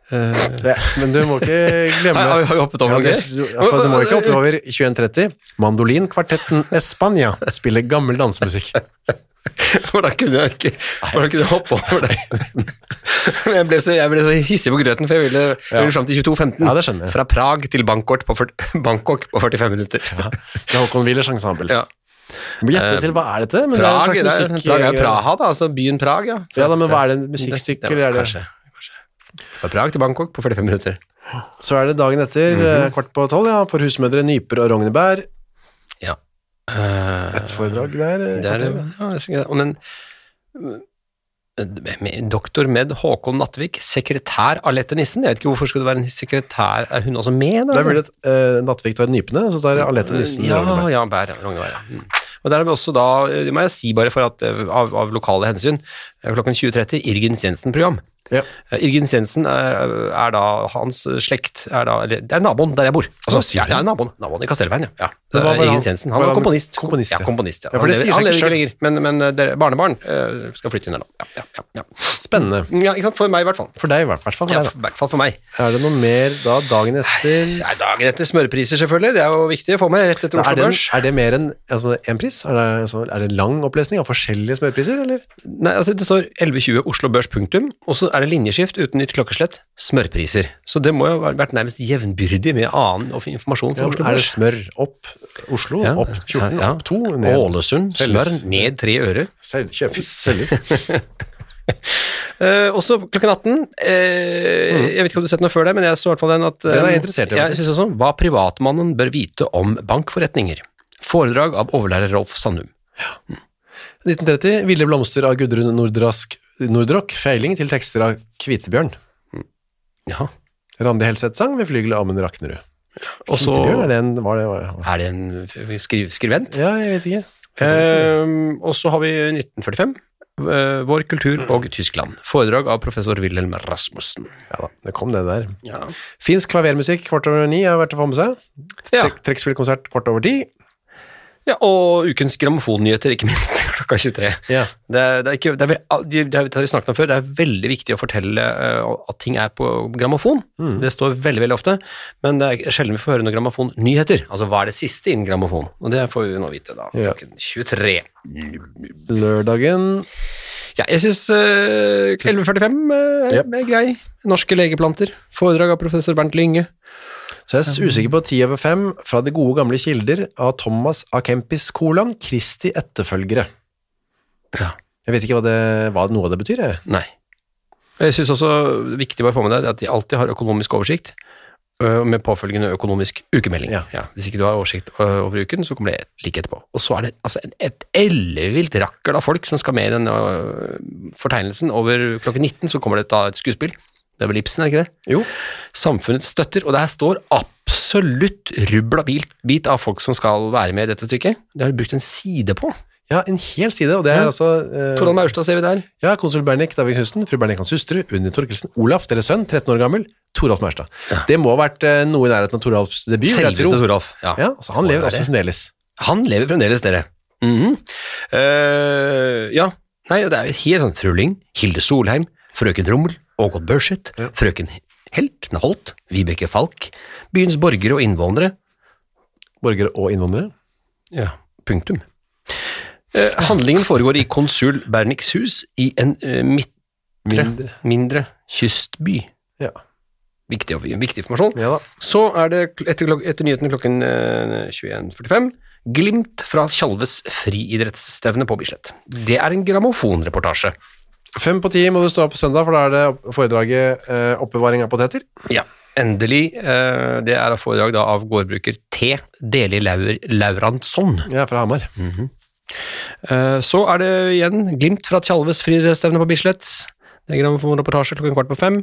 [SPEAKER 1] Eh,
[SPEAKER 2] Det, men du må ikke glemme
[SPEAKER 1] har, vi- har vi hoppet over
[SPEAKER 2] ja,
[SPEAKER 1] noe
[SPEAKER 2] det,
[SPEAKER 1] gøy?
[SPEAKER 2] for Du må ikke hoppe over 21.30. Mandolinkvartetten Espania spiller gammel dansemusikk.
[SPEAKER 1] <laughs> Hvordan kunne jeg ikke hvordan kunne jeg hoppe over det? <laughs> Men jeg, ble så, jeg ble så hissig på grøten, for jeg ville, jeg ville fram til 22.15.
[SPEAKER 2] Ja, det skjønner jeg.
[SPEAKER 1] Fra Prag til Bangkok på, fyrt- <laughs> Bangkok på 45 minutter. Ja.
[SPEAKER 2] Det er Håkon Willers ensemble. Du må gjette til, hva er dette? Men det er en
[SPEAKER 1] Prag,
[SPEAKER 2] slags
[SPEAKER 1] det er,
[SPEAKER 2] musikk.
[SPEAKER 1] Prag er jo Praha, da, altså byen Prag. Ja,
[SPEAKER 2] Ja da, men hva er det,
[SPEAKER 1] Det- det
[SPEAKER 2] musikkstykke,
[SPEAKER 1] var-
[SPEAKER 2] eller er det?
[SPEAKER 1] Kanskje, kanskje. Fra Prag til Bangkok på 45 minutter.
[SPEAKER 2] Så er det dagen etter,
[SPEAKER 1] Mhm.
[SPEAKER 2] eh, kvart på tolv, ja, for husmødre Nyper og Rognebær.
[SPEAKER 1] Ja. Eh,
[SPEAKER 2] Et foredrag der. eh,
[SPEAKER 1] det er det.
[SPEAKER 2] kvart
[SPEAKER 1] Ja, jeg synes ikke det. Og den med- Doktor med Håkon Nattvik, sekretær av Lette Nissen. Jeg vet ikke hvorfor skulle det være en sekretær, er hun også med? Da?
[SPEAKER 2] over. Det er mulig at eh, Nattvik tar nypene, og så tar Alete Nissen
[SPEAKER 1] ja,
[SPEAKER 2] Rognebær.
[SPEAKER 1] Ja, bær, ja, Rognebær, ja. Mm. Og der er vi også da, eh, det må jeg si bare for at, eh, av, av lokale hensyn, eh, klokken 20.30, Irgens Jensen-program.
[SPEAKER 2] Ja.
[SPEAKER 1] Eh, Irgens Jensen er, er da hans slekt er da, eller, Det er naboen der jeg bor. Altså,
[SPEAKER 2] Hva sier
[SPEAKER 1] ja,
[SPEAKER 2] du?
[SPEAKER 1] det er naboen, naboen i Kastellveien, ja. ja.
[SPEAKER 2] Men
[SPEAKER 1] Det
[SPEAKER 2] hva
[SPEAKER 1] er
[SPEAKER 2] var han-
[SPEAKER 1] Irgens Jensen. Han
[SPEAKER 2] var
[SPEAKER 1] var,
[SPEAKER 2] han
[SPEAKER 1] komponist.
[SPEAKER 2] komponist, ja?
[SPEAKER 1] ja. komponist, ja.
[SPEAKER 2] Ja, for det
[SPEAKER 1] Han
[SPEAKER 2] sier seg
[SPEAKER 1] lever- han
[SPEAKER 2] ikke
[SPEAKER 1] lever
[SPEAKER 2] selv.
[SPEAKER 1] lenger, men, men eh, dere, barnebarn eh, skal flytte inn her nå. Ja, ja, ja, ja.
[SPEAKER 2] Spennende.
[SPEAKER 1] ja, ikke sant? For meg, i hvert fall.
[SPEAKER 2] For deg, i hvert fall. For
[SPEAKER 1] Ja,
[SPEAKER 2] deg,
[SPEAKER 1] I hvert fall for meg.
[SPEAKER 2] da. Er det noe mer da dagen etter
[SPEAKER 1] Nei, dagen etter smørpriser, selvfølgelig. Det er jo viktig å få med rett etter
[SPEAKER 2] er
[SPEAKER 1] Oslo
[SPEAKER 2] det,
[SPEAKER 1] Børs.
[SPEAKER 2] er det mer enn altså, en pris? Er det, altså, er det en lang opplesning av forskjellige smørpriser, eller?
[SPEAKER 1] Nei, altså Det står 11.20 Oslo Børs punktum, og så er det linjeskift uten nytt klokkeslett, smørpriser. Så det må jo ha vært nærmest jevnbyrdig med annen of- informasjon
[SPEAKER 2] Ja,
[SPEAKER 1] for Oslo
[SPEAKER 2] er det
[SPEAKER 1] Børs.
[SPEAKER 2] smør opp Oslo,
[SPEAKER 1] Ja,
[SPEAKER 2] opp 14,
[SPEAKER 1] ja, ja.
[SPEAKER 2] opp 2, ned
[SPEAKER 1] Ålesund, smør
[SPEAKER 2] Selges.
[SPEAKER 1] ned tre øre.
[SPEAKER 2] Selg, kjøpes, selges. <laughs>
[SPEAKER 1] Eh, også klokken 18. Eh, Jeg vet ikke om du har sett noe før det, men jeg så i hvert fall den at
[SPEAKER 2] Mm. Den er jeg
[SPEAKER 1] eh,
[SPEAKER 2] interessert i,
[SPEAKER 1] Jeg
[SPEAKER 2] faktisk.
[SPEAKER 1] synes også Hva privatmannen bør vite om bankforretninger. Foredrag av overlærer Rolf Sandum.
[SPEAKER 2] 1930, Ville blomster av Gudrun Nordrask, Nordrock, feiling til tekster av Kvitebjørn.
[SPEAKER 1] Ja,
[SPEAKER 2] Randi Helseth sang ved flygelet Amund Raknerud.
[SPEAKER 1] og så
[SPEAKER 2] Kvitebjørn, er det en, var det, var det?
[SPEAKER 1] er det en eh, skriv skrivent.
[SPEAKER 2] Ja, jeg vet ikke.
[SPEAKER 1] Ehm, og så har vi 1945. eh, vår kultur
[SPEAKER 2] Mm.
[SPEAKER 1] og Tyskland. Foredrag av professor Wilhelm Rasmussen.
[SPEAKER 2] Ja da, det kom det der.
[SPEAKER 1] Ja.
[SPEAKER 2] Finsk klavermusikk, kvart over ni, har vært å få med seg.
[SPEAKER 1] Ja,
[SPEAKER 2] Tre- Trekkspillkonsert, kvart over ti.
[SPEAKER 1] og ukens grammofonnnyheter, ikke minst, <laughs> klokka 23.
[SPEAKER 2] Ja.
[SPEAKER 1] Det er, det er ikke, det er, vel- de- det har vi snakket om før, det er veldig viktig å fortelle eh, at ting er på grammofon.
[SPEAKER 2] Mm.
[SPEAKER 1] Det står veldig veldig ofte, men det er sjelden vi får høre noen grammofon-nyheter. Altså hva er det siste innen grammofon? Og det får vi nå vite da,
[SPEAKER 2] Ja.
[SPEAKER 1] klokken 23.
[SPEAKER 2] Lørdagen,
[SPEAKER 1] Ja, jeg syns 1145 eh,
[SPEAKER 2] Ja.
[SPEAKER 1] er grei. Norske legeplanter. Foredrag av professor Bernt Lynge.
[SPEAKER 2] Så jeg er usikker på 10 over 5 fra de gode gamle kilder av Thomas Akempis kolon Kristi etterfølgere.
[SPEAKER 1] Ja.
[SPEAKER 2] Jeg vet ikke hva, det, hva noe av det betyr, jeg.
[SPEAKER 1] Nei. Jeg syns også viktig bare å få med deg det er at de alltid har økonomisk oversikt. ø, Med påfølgende økonomisk ukemelding.
[SPEAKER 2] Ja.
[SPEAKER 1] hvis ikke du har oversikt ø, over uken, så kommer det like etterpå. Og så er det altså, en- et ellevilt rakkel av folk som skal med i denne ø, fortegnelsen. Over klokken 19 så kommer det da et skuespill. Det er vel Ibsen, er det ikke det?
[SPEAKER 2] Jo.
[SPEAKER 1] Samfunnet støtter, og det her står absolutt rubbel og bit- bit av folk som skal være med i dette stykket. Det har de brukt en side på.
[SPEAKER 2] Ja, en hel side, og det er
[SPEAKER 1] Ja.
[SPEAKER 2] altså eh,
[SPEAKER 1] Torald Maurstad ser vi der.
[SPEAKER 2] Ja, konsul Bernik, Davik Knudsen, fru Bernik hans hustru, Unni Torkelsen, Olaf, deres sønn, 13 år gammel, Toralf Mærstad. Det må ha vært eh, noe i nærheten av Toralfs debut, vil jeg
[SPEAKER 1] Selveste
[SPEAKER 2] tro.
[SPEAKER 1] Toralf.
[SPEAKER 2] Ja, altså, han
[SPEAKER 1] Må
[SPEAKER 2] lever
[SPEAKER 1] være
[SPEAKER 2] også
[SPEAKER 1] det.
[SPEAKER 2] fremdeles.
[SPEAKER 1] Han lever fremdeles, dere. Mhm. Eh, ja. Nei, det er jo helt sånn Fruling, Hilde Solheim, frøken Rommel, Ågot Børseth,
[SPEAKER 2] Ja.
[SPEAKER 1] frøken Helt, Holt, Vibeke Falk, byens borgere og innvånere.
[SPEAKER 2] Borgere og innvandrere.
[SPEAKER 1] Ja, punktum. Eh, handlingen foregår i konsul Berniks hus i en eh, midtre,
[SPEAKER 2] Mindre.
[SPEAKER 1] mindre kystby.
[SPEAKER 2] Ja.
[SPEAKER 1] Viktig, viktig informasjon.
[SPEAKER 2] ja da.
[SPEAKER 1] Så er det kl- etter, klok etter nyheten klokken eh, 21.45 Glimt fra Tjalves friidrettsstevne på Bislett. Det er en grammofonreportasje.
[SPEAKER 2] Fem på ti må du stå opp på søndag, for da er det opp- foredraget eh, oppbevaring av poteter.
[SPEAKER 1] Ja. Endelig. eh, det er et foredrag da av gårdbruker T. Deli Laur Lauransson.
[SPEAKER 2] Ja, fra Hamar.
[SPEAKER 1] Eh, så er det igjen Glimt fra Tjalves friidrettsstevne på Bislett. Det er en grammofonreportasje klokken kvart på fem,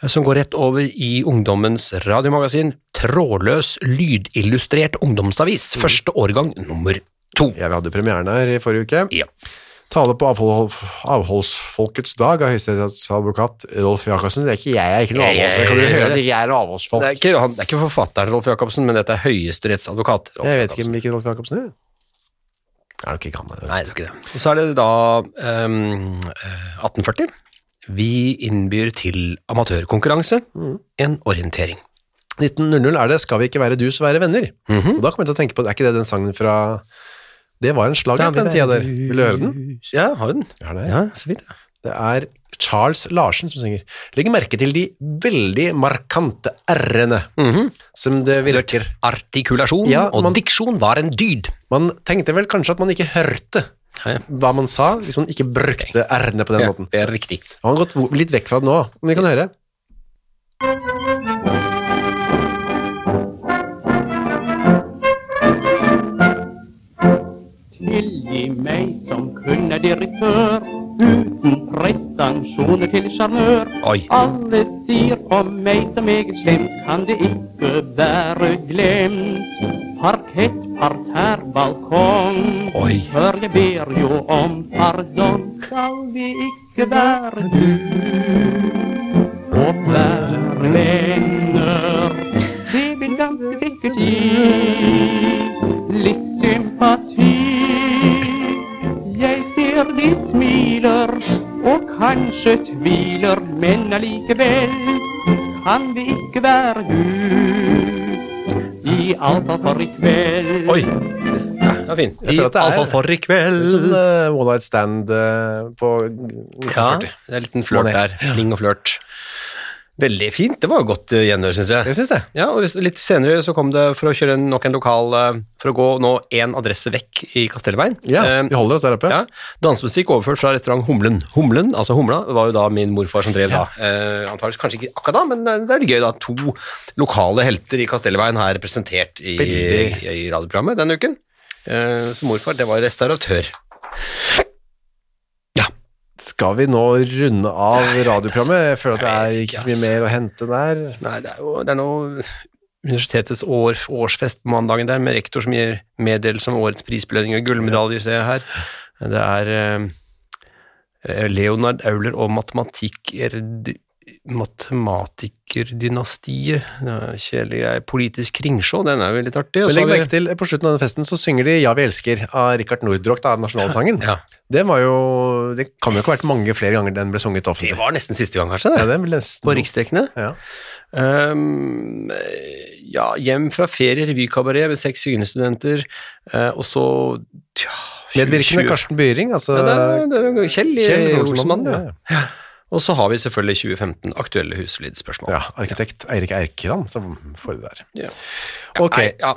[SPEAKER 1] eh, som går rett over i ungdommens radiomagasin Trådløs lydillustrert ungdomsavis. Første årgang nummer to.
[SPEAKER 2] Ja, vi hadde premieren her i forrige uke.
[SPEAKER 1] Ja.
[SPEAKER 2] Tale på avhold, avholdsfolkets dag av høyesterettsadvokat Rolf Jacobsen. Det er ikke jeg, jeg er ikke noe
[SPEAKER 1] Jeg- jeg-
[SPEAKER 2] avholdsfolk. Kan du
[SPEAKER 1] jeg-
[SPEAKER 2] høre at jeg er noe avholdsfolk?
[SPEAKER 1] Det er, ikke, han, det er ikke forfatteren Rolf Jacobsen, men dette er høyesterettsadvokat. Rolf
[SPEAKER 2] Jeg vet ikke
[SPEAKER 1] Jacobsen.
[SPEAKER 2] hvilken Rolf Jacobsen er. Er det ikke han?
[SPEAKER 1] Nei, det er ikke det. Og så er det da ehm, eh, 1840. Vi innbyr til amatørkonkurranse,
[SPEAKER 2] Mm.
[SPEAKER 1] en orientering.
[SPEAKER 2] 1900 er det 'Skal vi ikke være dus, være venner'.
[SPEAKER 1] Mhm.
[SPEAKER 2] Og da kom jeg til å tenke på, er ikke det den sangen fra Det var en slager på den tida der. Vil du høre den?
[SPEAKER 1] Ja, har du den?
[SPEAKER 2] Ja, det, er.
[SPEAKER 1] Ja, så vidt. ja.
[SPEAKER 2] det er Charles Larsen som synger. Legg merke til de veldig markante r-ene
[SPEAKER 1] Mhm.
[SPEAKER 2] som det virker.
[SPEAKER 1] Artikulasjon
[SPEAKER 2] Ja, man-
[SPEAKER 1] og diksjon var en dyd.
[SPEAKER 2] Man tenkte vel kanskje at man ikke hørte
[SPEAKER 1] Ja, ja.
[SPEAKER 2] hva man sa, hvis man ikke brukte r-ene på den
[SPEAKER 1] Ja,
[SPEAKER 2] måten.
[SPEAKER 1] det er riktig.
[SPEAKER 2] Han har gått vo- litt vekk fra det nå, men vi kan høre.
[SPEAKER 5] Tilgi meg som kun er direktør, uten pretensjoner til sjarmør.
[SPEAKER 1] Oi.
[SPEAKER 5] Alle sier om meg som meget slemt, kan det ikke være glemt. Parkett, parterre, balkong,
[SPEAKER 1] Oi.
[SPEAKER 5] for jeg ber jo om pardon. Skal vi ikke være du? litt sympati. Jeg ser de smiler og kanskje tviler, men allikevel kan det ikke være hun i Alta for i kveld.
[SPEAKER 1] Oi! Ja, den var fin.
[SPEAKER 2] Jeg føler at det er-
[SPEAKER 1] Iallfall for i kveld.
[SPEAKER 2] Litt sånn eh, one night stand eh, på
[SPEAKER 1] Mm. Ja,
[SPEAKER 2] 1940.
[SPEAKER 1] det er en liten flørt der. Ling og flørt. Veldig fint. Det var jo godt eh, gjenhør, syns jeg.
[SPEAKER 2] Jeg syns det.
[SPEAKER 1] Ja, og hvis- litt senere så kom det for å kjøre en- nok en lokal eh, For å gå nå én adresse vekk i Kastellveien.
[SPEAKER 2] Ja,
[SPEAKER 1] Eh,
[SPEAKER 2] vi holder oss der oppe.
[SPEAKER 1] ja. Dansemusikk overført fra restaurant Humlen. Humlen, altså Humla, var jo da min morfar som drev da. Eh, antageligvis kanskje ikke akkurat da, men eh, det er litt gøy da. To lokale helter i Kastellveien her representert i,
[SPEAKER 2] Veldig.
[SPEAKER 1] i radioprogrammet denne uken. Eh, så morfar, det var restauratør.
[SPEAKER 2] Skal vi nå runde av radioprogrammet? Jeg føler at det
[SPEAKER 1] Jeg
[SPEAKER 2] er
[SPEAKER 1] vet
[SPEAKER 2] ikke
[SPEAKER 1] ikke,
[SPEAKER 2] så mye
[SPEAKER 1] ass.
[SPEAKER 2] mer å hente der.
[SPEAKER 1] Nei, det er jo det er noe Universitetets år, årsfest på mandagen der, med rektor som gir meddelelse om årets prisbelønning og gullmedaljer, ser jeg her. Det er eh, Leonard Auler og matematiker matematikerdynastiet. Det er Kjedelig greie. Politisk kringsjå, den er jo litt artig. og
[SPEAKER 2] Men
[SPEAKER 1] så
[SPEAKER 2] legg
[SPEAKER 1] har vi-
[SPEAKER 2] merke til, eh, på slutten av den festen så synger de Ja, vi elsker av Richard Nordrock, da, nasjonalsangen.
[SPEAKER 1] Ja,
[SPEAKER 2] Det var jo Det kan jo ikke ha vært mange flere ganger den ble
[SPEAKER 1] det
[SPEAKER 2] sunget offentlig.
[SPEAKER 1] var nesten siste gang, kanskje,
[SPEAKER 2] Ja,
[SPEAKER 1] det.
[SPEAKER 2] det ble nesten-
[SPEAKER 1] På riksdekkene.
[SPEAKER 2] Ja.
[SPEAKER 1] Ehm, eh, ja, hjem fra ferie, revykabaret med seks synestudenter, eh, og så tja,
[SPEAKER 2] Medvirkende
[SPEAKER 1] 2020.
[SPEAKER 2] Karsten Byring, altså
[SPEAKER 1] Ja, det er, det er Kjell,
[SPEAKER 2] Kjell
[SPEAKER 1] Olsenmann.
[SPEAKER 2] Olsenmann,
[SPEAKER 1] Ja.
[SPEAKER 2] ja.
[SPEAKER 1] Og så har vi selvfølgelig 2015 aktuelle huslydspørsmål.
[SPEAKER 2] Ja, arkitekt Eirik Eikeland som foredrar.
[SPEAKER 1] Ja.
[SPEAKER 2] Ok,
[SPEAKER 1] Nei, ja.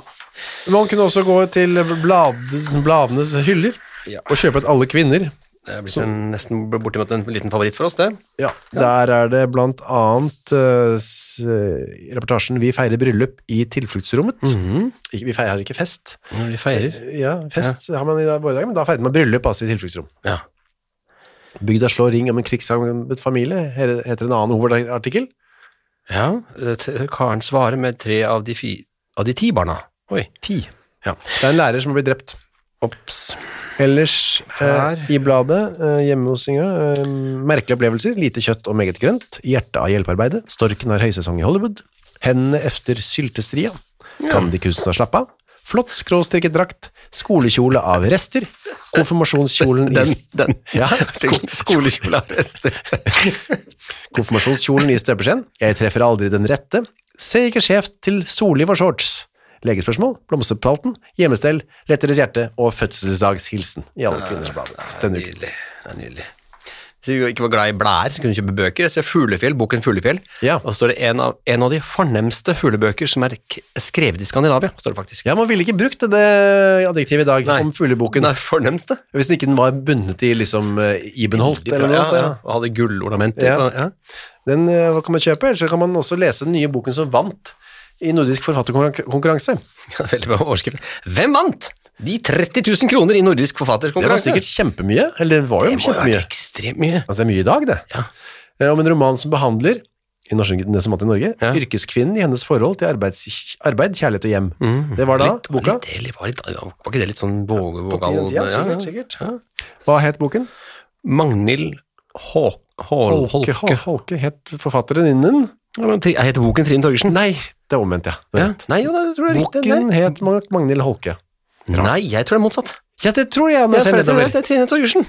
[SPEAKER 2] Man kunne også gå til blades, bladenes hyller
[SPEAKER 1] Ja.
[SPEAKER 2] og kjøpe et Alle kvinner.
[SPEAKER 1] Det er blitt en, nesten bortimot en liten favoritt for oss, det.
[SPEAKER 2] Ja, Der er det blant annet eh, s- eh, reportasjen 'Vi feirer bryllup i tilfluktsrommet'. Ikke- Vi feirer ikke fest.
[SPEAKER 1] Når vi feirer.
[SPEAKER 2] Mm. Ja, fest har man i dag- våre dager, men da feirer man bryllup altså i tilfluktsrom.
[SPEAKER 1] Ja.
[SPEAKER 2] Bygda slår ring om en krigshavnet familie, her- heter en annen hovedartikkel.
[SPEAKER 1] ja. eh, t- Karen svarer med tre av de, fi, av de ti barna. Oi.
[SPEAKER 2] Ti.
[SPEAKER 1] Ja.
[SPEAKER 2] Det er en lærer som har blitt drept.
[SPEAKER 1] Ops.
[SPEAKER 2] Ellers
[SPEAKER 1] Her.
[SPEAKER 2] eh, i bladet, eh, hjemme hos Ingra, eh, merkelige opplevelser, lite kjøtt og meget grønt, hjertet av hjelpearbeidet, storken har høysesong i Hollywood, hendene efter syltestria, kan de kunsten ha slappe av, flott skråstrikket drakt, skolekjole av rester, konfirmasjonskjolen i,
[SPEAKER 1] Den, den.
[SPEAKER 2] <laughs>
[SPEAKER 1] <laughs>
[SPEAKER 2] ja, sko
[SPEAKER 1] Skolekjolearrester.
[SPEAKER 2] konfirmasjonskjolen i støpeskjeen, jeg treffer aldri den rette, se ikke skjevt til soli for shorts, legespørsmål, blomsterpalten, hjemmestell, letteres hjerte og fødselsdagshilsen i alle kvinners bladet denne uken.
[SPEAKER 1] Nydelig. Det er nydelig. Hvis vi ikke var glad i blæer, så kunne vi kjøpe bøker. Jeg ser Fuglefjell, boken Fuglefjell.
[SPEAKER 2] Ja.
[SPEAKER 1] Og så står det en av, en av de fornemste fuglebøker som er k- skrevet i Skandinavia. står det faktisk.
[SPEAKER 2] Ja, man ville ikke brukt det adjektivet i dag
[SPEAKER 1] Nei.
[SPEAKER 2] om fugleboken.
[SPEAKER 1] Den er fornemste.
[SPEAKER 2] Hvis den ikke den var bundet i liksom eh, Ibenholt eller noe.
[SPEAKER 1] ja,
[SPEAKER 2] annet,
[SPEAKER 1] ja.
[SPEAKER 2] Ja.
[SPEAKER 1] Og hadde gullornamenter.
[SPEAKER 2] Ja.
[SPEAKER 1] på- Ja. <laughs>
[SPEAKER 2] Den eh, hva kan man kjøpe, eller så kan man også lese den nye boken som vant i nordisk forfatterkonkurranse.
[SPEAKER 1] Veldig bra overskrift. Hvem vant? De 30 000 kroner i nordisk
[SPEAKER 2] Det var
[SPEAKER 1] forfatterkonkurranse.
[SPEAKER 2] sikkert kjempemye, eller det var
[SPEAKER 1] Det
[SPEAKER 2] jo
[SPEAKER 1] må jo ha vært
[SPEAKER 2] kjempemye.
[SPEAKER 1] ekstremt mye.
[SPEAKER 2] Altså, det er mye i dag, det.
[SPEAKER 1] Ja.
[SPEAKER 2] Eh, Om en roman som behandler, i norsk, det som vant i Norge,
[SPEAKER 1] Ja.
[SPEAKER 2] yrkeskvinnen i hennes forhold til arbeids, arbeid, kjærlighet og hjem. Det Mm. var da
[SPEAKER 1] Mm. Litt-
[SPEAKER 2] boka.
[SPEAKER 1] Litt, det var, litt, var ikke det litt sånn våge,
[SPEAKER 2] På tiden,
[SPEAKER 1] vågal
[SPEAKER 2] ja,
[SPEAKER 1] ja, ja.
[SPEAKER 2] sikkert, sikkert.
[SPEAKER 1] Ja.
[SPEAKER 2] Hva het boken?
[SPEAKER 1] Magnhild Hå- Hå- Holke.
[SPEAKER 2] Holke, Holke, Holke het forfatteren innen.
[SPEAKER 1] Ja, men Tri- Heter boken Trine Torgersen?
[SPEAKER 2] Nei, det er omvendt, ja. Det er
[SPEAKER 1] Ja.
[SPEAKER 2] rett.
[SPEAKER 1] Nei, jo, det tror jeg er riktig.
[SPEAKER 2] Boken het Mag- Magnhild Holke.
[SPEAKER 1] Nei. Nei, jeg tror det er motsatt.
[SPEAKER 2] Ja, det tror jeg
[SPEAKER 1] Jeg føler at det, det er Trine Torgersen.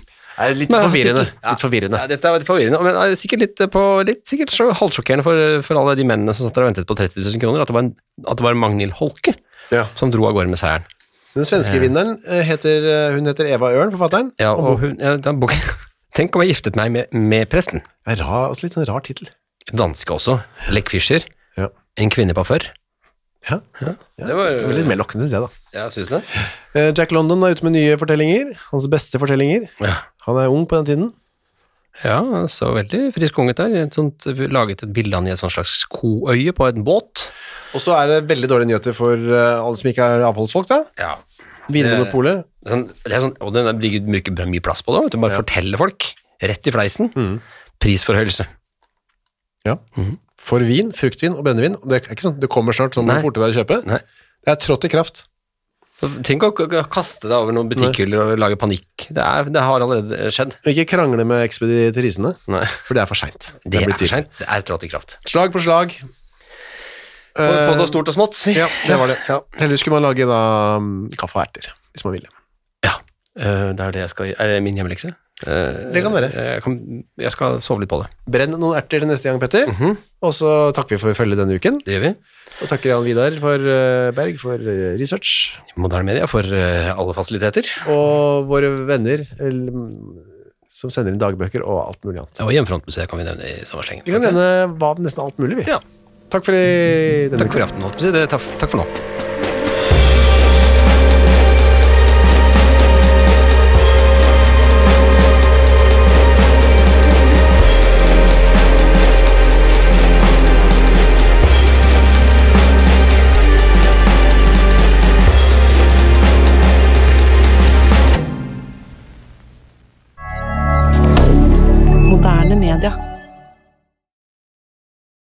[SPEAKER 2] Litt
[SPEAKER 1] Nei,
[SPEAKER 2] forvirrende.
[SPEAKER 1] jeg fikk ikke-
[SPEAKER 2] Litt forvirrende.
[SPEAKER 1] Ja, dette er litt forvirrende, men eh, sikkert litt, eh, på, litt sikkert så halvsjokkerende for, eh, for alle de mennene som satt der og ventet på 30 000 kroner, at det var, en, at det var Magnhild Holke som dro av gårde med seieren.
[SPEAKER 2] Den svenske vinneren eh, heter, eh, hun heter Eva Ørn, forfatteren.
[SPEAKER 1] Ja,
[SPEAKER 2] Og
[SPEAKER 1] og hun, ja, den boken, <laughs> tenk om jeg giftet meg med, med presten.
[SPEAKER 2] Det er rar, også litt sånn rar tittel.
[SPEAKER 1] Danske også. Lech Fischer.
[SPEAKER 2] Ja.
[SPEAKER 1] En kvinne på før.
[SPEAKER 2] Ja.
[SPEAKER 1] Det var,
[SPEAKER 2] Det var litt mer lokkende, synes jeg, da.
[SPEAKER 1] ja, synes det.
[SPEAKER 2] Eh, Jack London er ute med nye fortellinger. Hans beste fortellinger.
[SPEAKER 1] Ja.
[SPEAKER 2] Han er ung på den tiden.
[SPEAKER 1] ja, han så veldig frisk unget der. Et sånt, laget et bilde av han i et sånt slags koøye på en båt.
[SPEAKER 2] Og så er det veldig dårlige nyheter for eh, alle som ikke er avholdsfolk, da.
[SPEAKER 1] Ja,
[SPEAKER 2] Vinmonopolet.
[SPEAKER 1] sånn, det er sånn, og den der ligger mye, mye, mye plass på det, vet du, bare forteller folk, rett i fleisen,
[SPEAKER 2] Mm.
[SPEAKER 1] prisforhøyelse.
[SPEAKER 2] Ja.
[SPEAKER 1] Mhm.
[SPEAKER 2] For vin, fruktvin og brennevin. Og Det er ikke sånn, det kommer snart, sånn
[SPEAKER 1] Nei.
[SPEAKER 2] du forter deg å kjøpe.
[SPEAKER 1] Nei.
[SPEAKER 2] Det er trådt i kraft.
[SPEAKER 1] Så tenk å k- k- kaste deg over noen butikkhyller og lage panikk. Det, er, det har allerede eh, skjedd.
[SPEAKER 2] Og Ikke krangle med ekspeditrisene,
[SPEAKER 1] Nei,
[SPEAKER 2] for det er for seint.
[SPEAKER 1] det er for Eh, sent. Det er trådt i kraft.
[SPEAKER 2] Slag på slag.
[SPEAKER 1] For både stort og smått. si.
[SPEAKER 2] Eh, Ja, det
[SPEAKER 1] <laughs>
[SPEAKER 2] var det. Heldigvis skulle man lage da, mm, kaffe og erter, hvis man ville.
[SPEAKER 1] Eh, det er det jeg skal Er det min hjemmelekse? Eh,
[SPEAKER 2] Det kan være.
[SPEAKER 1] Jeg, kan, jeg skal sove litt på det.
[SPEAKER 2] Brenn noen erter til neste gang, Petter.
[SPEAKER 1] Mhm,
[SPEAKER 2] Og så takker vi for følget denne uken.
[SPEAKER 1] Det gjør vi.
[SPEAKER 2] Og takker Jan Vidar for eh, Berg for eh, research.
[SPEAKER 1] Moderne media for eh, alle fasiliteter.
[SPEAKER 2] Og våre venner eller, mm, som sender inn dagbøker og alt mulig annet.
[SPEAKER 1] Og Hjemmefrontmuseet kan vi nevne i samme sleng.
[SPEAKER 2] Vi kan nevne hva, nesten alt mulig, vi.
[SPEAKER 1] Ja.
[SPEAKER 2] Takk for i denne
[SPEAKER 1] Takk for i aften, holdt jeg på å si. Det- Takk, takk for nå.
[SPEAKER 6] Moderne media.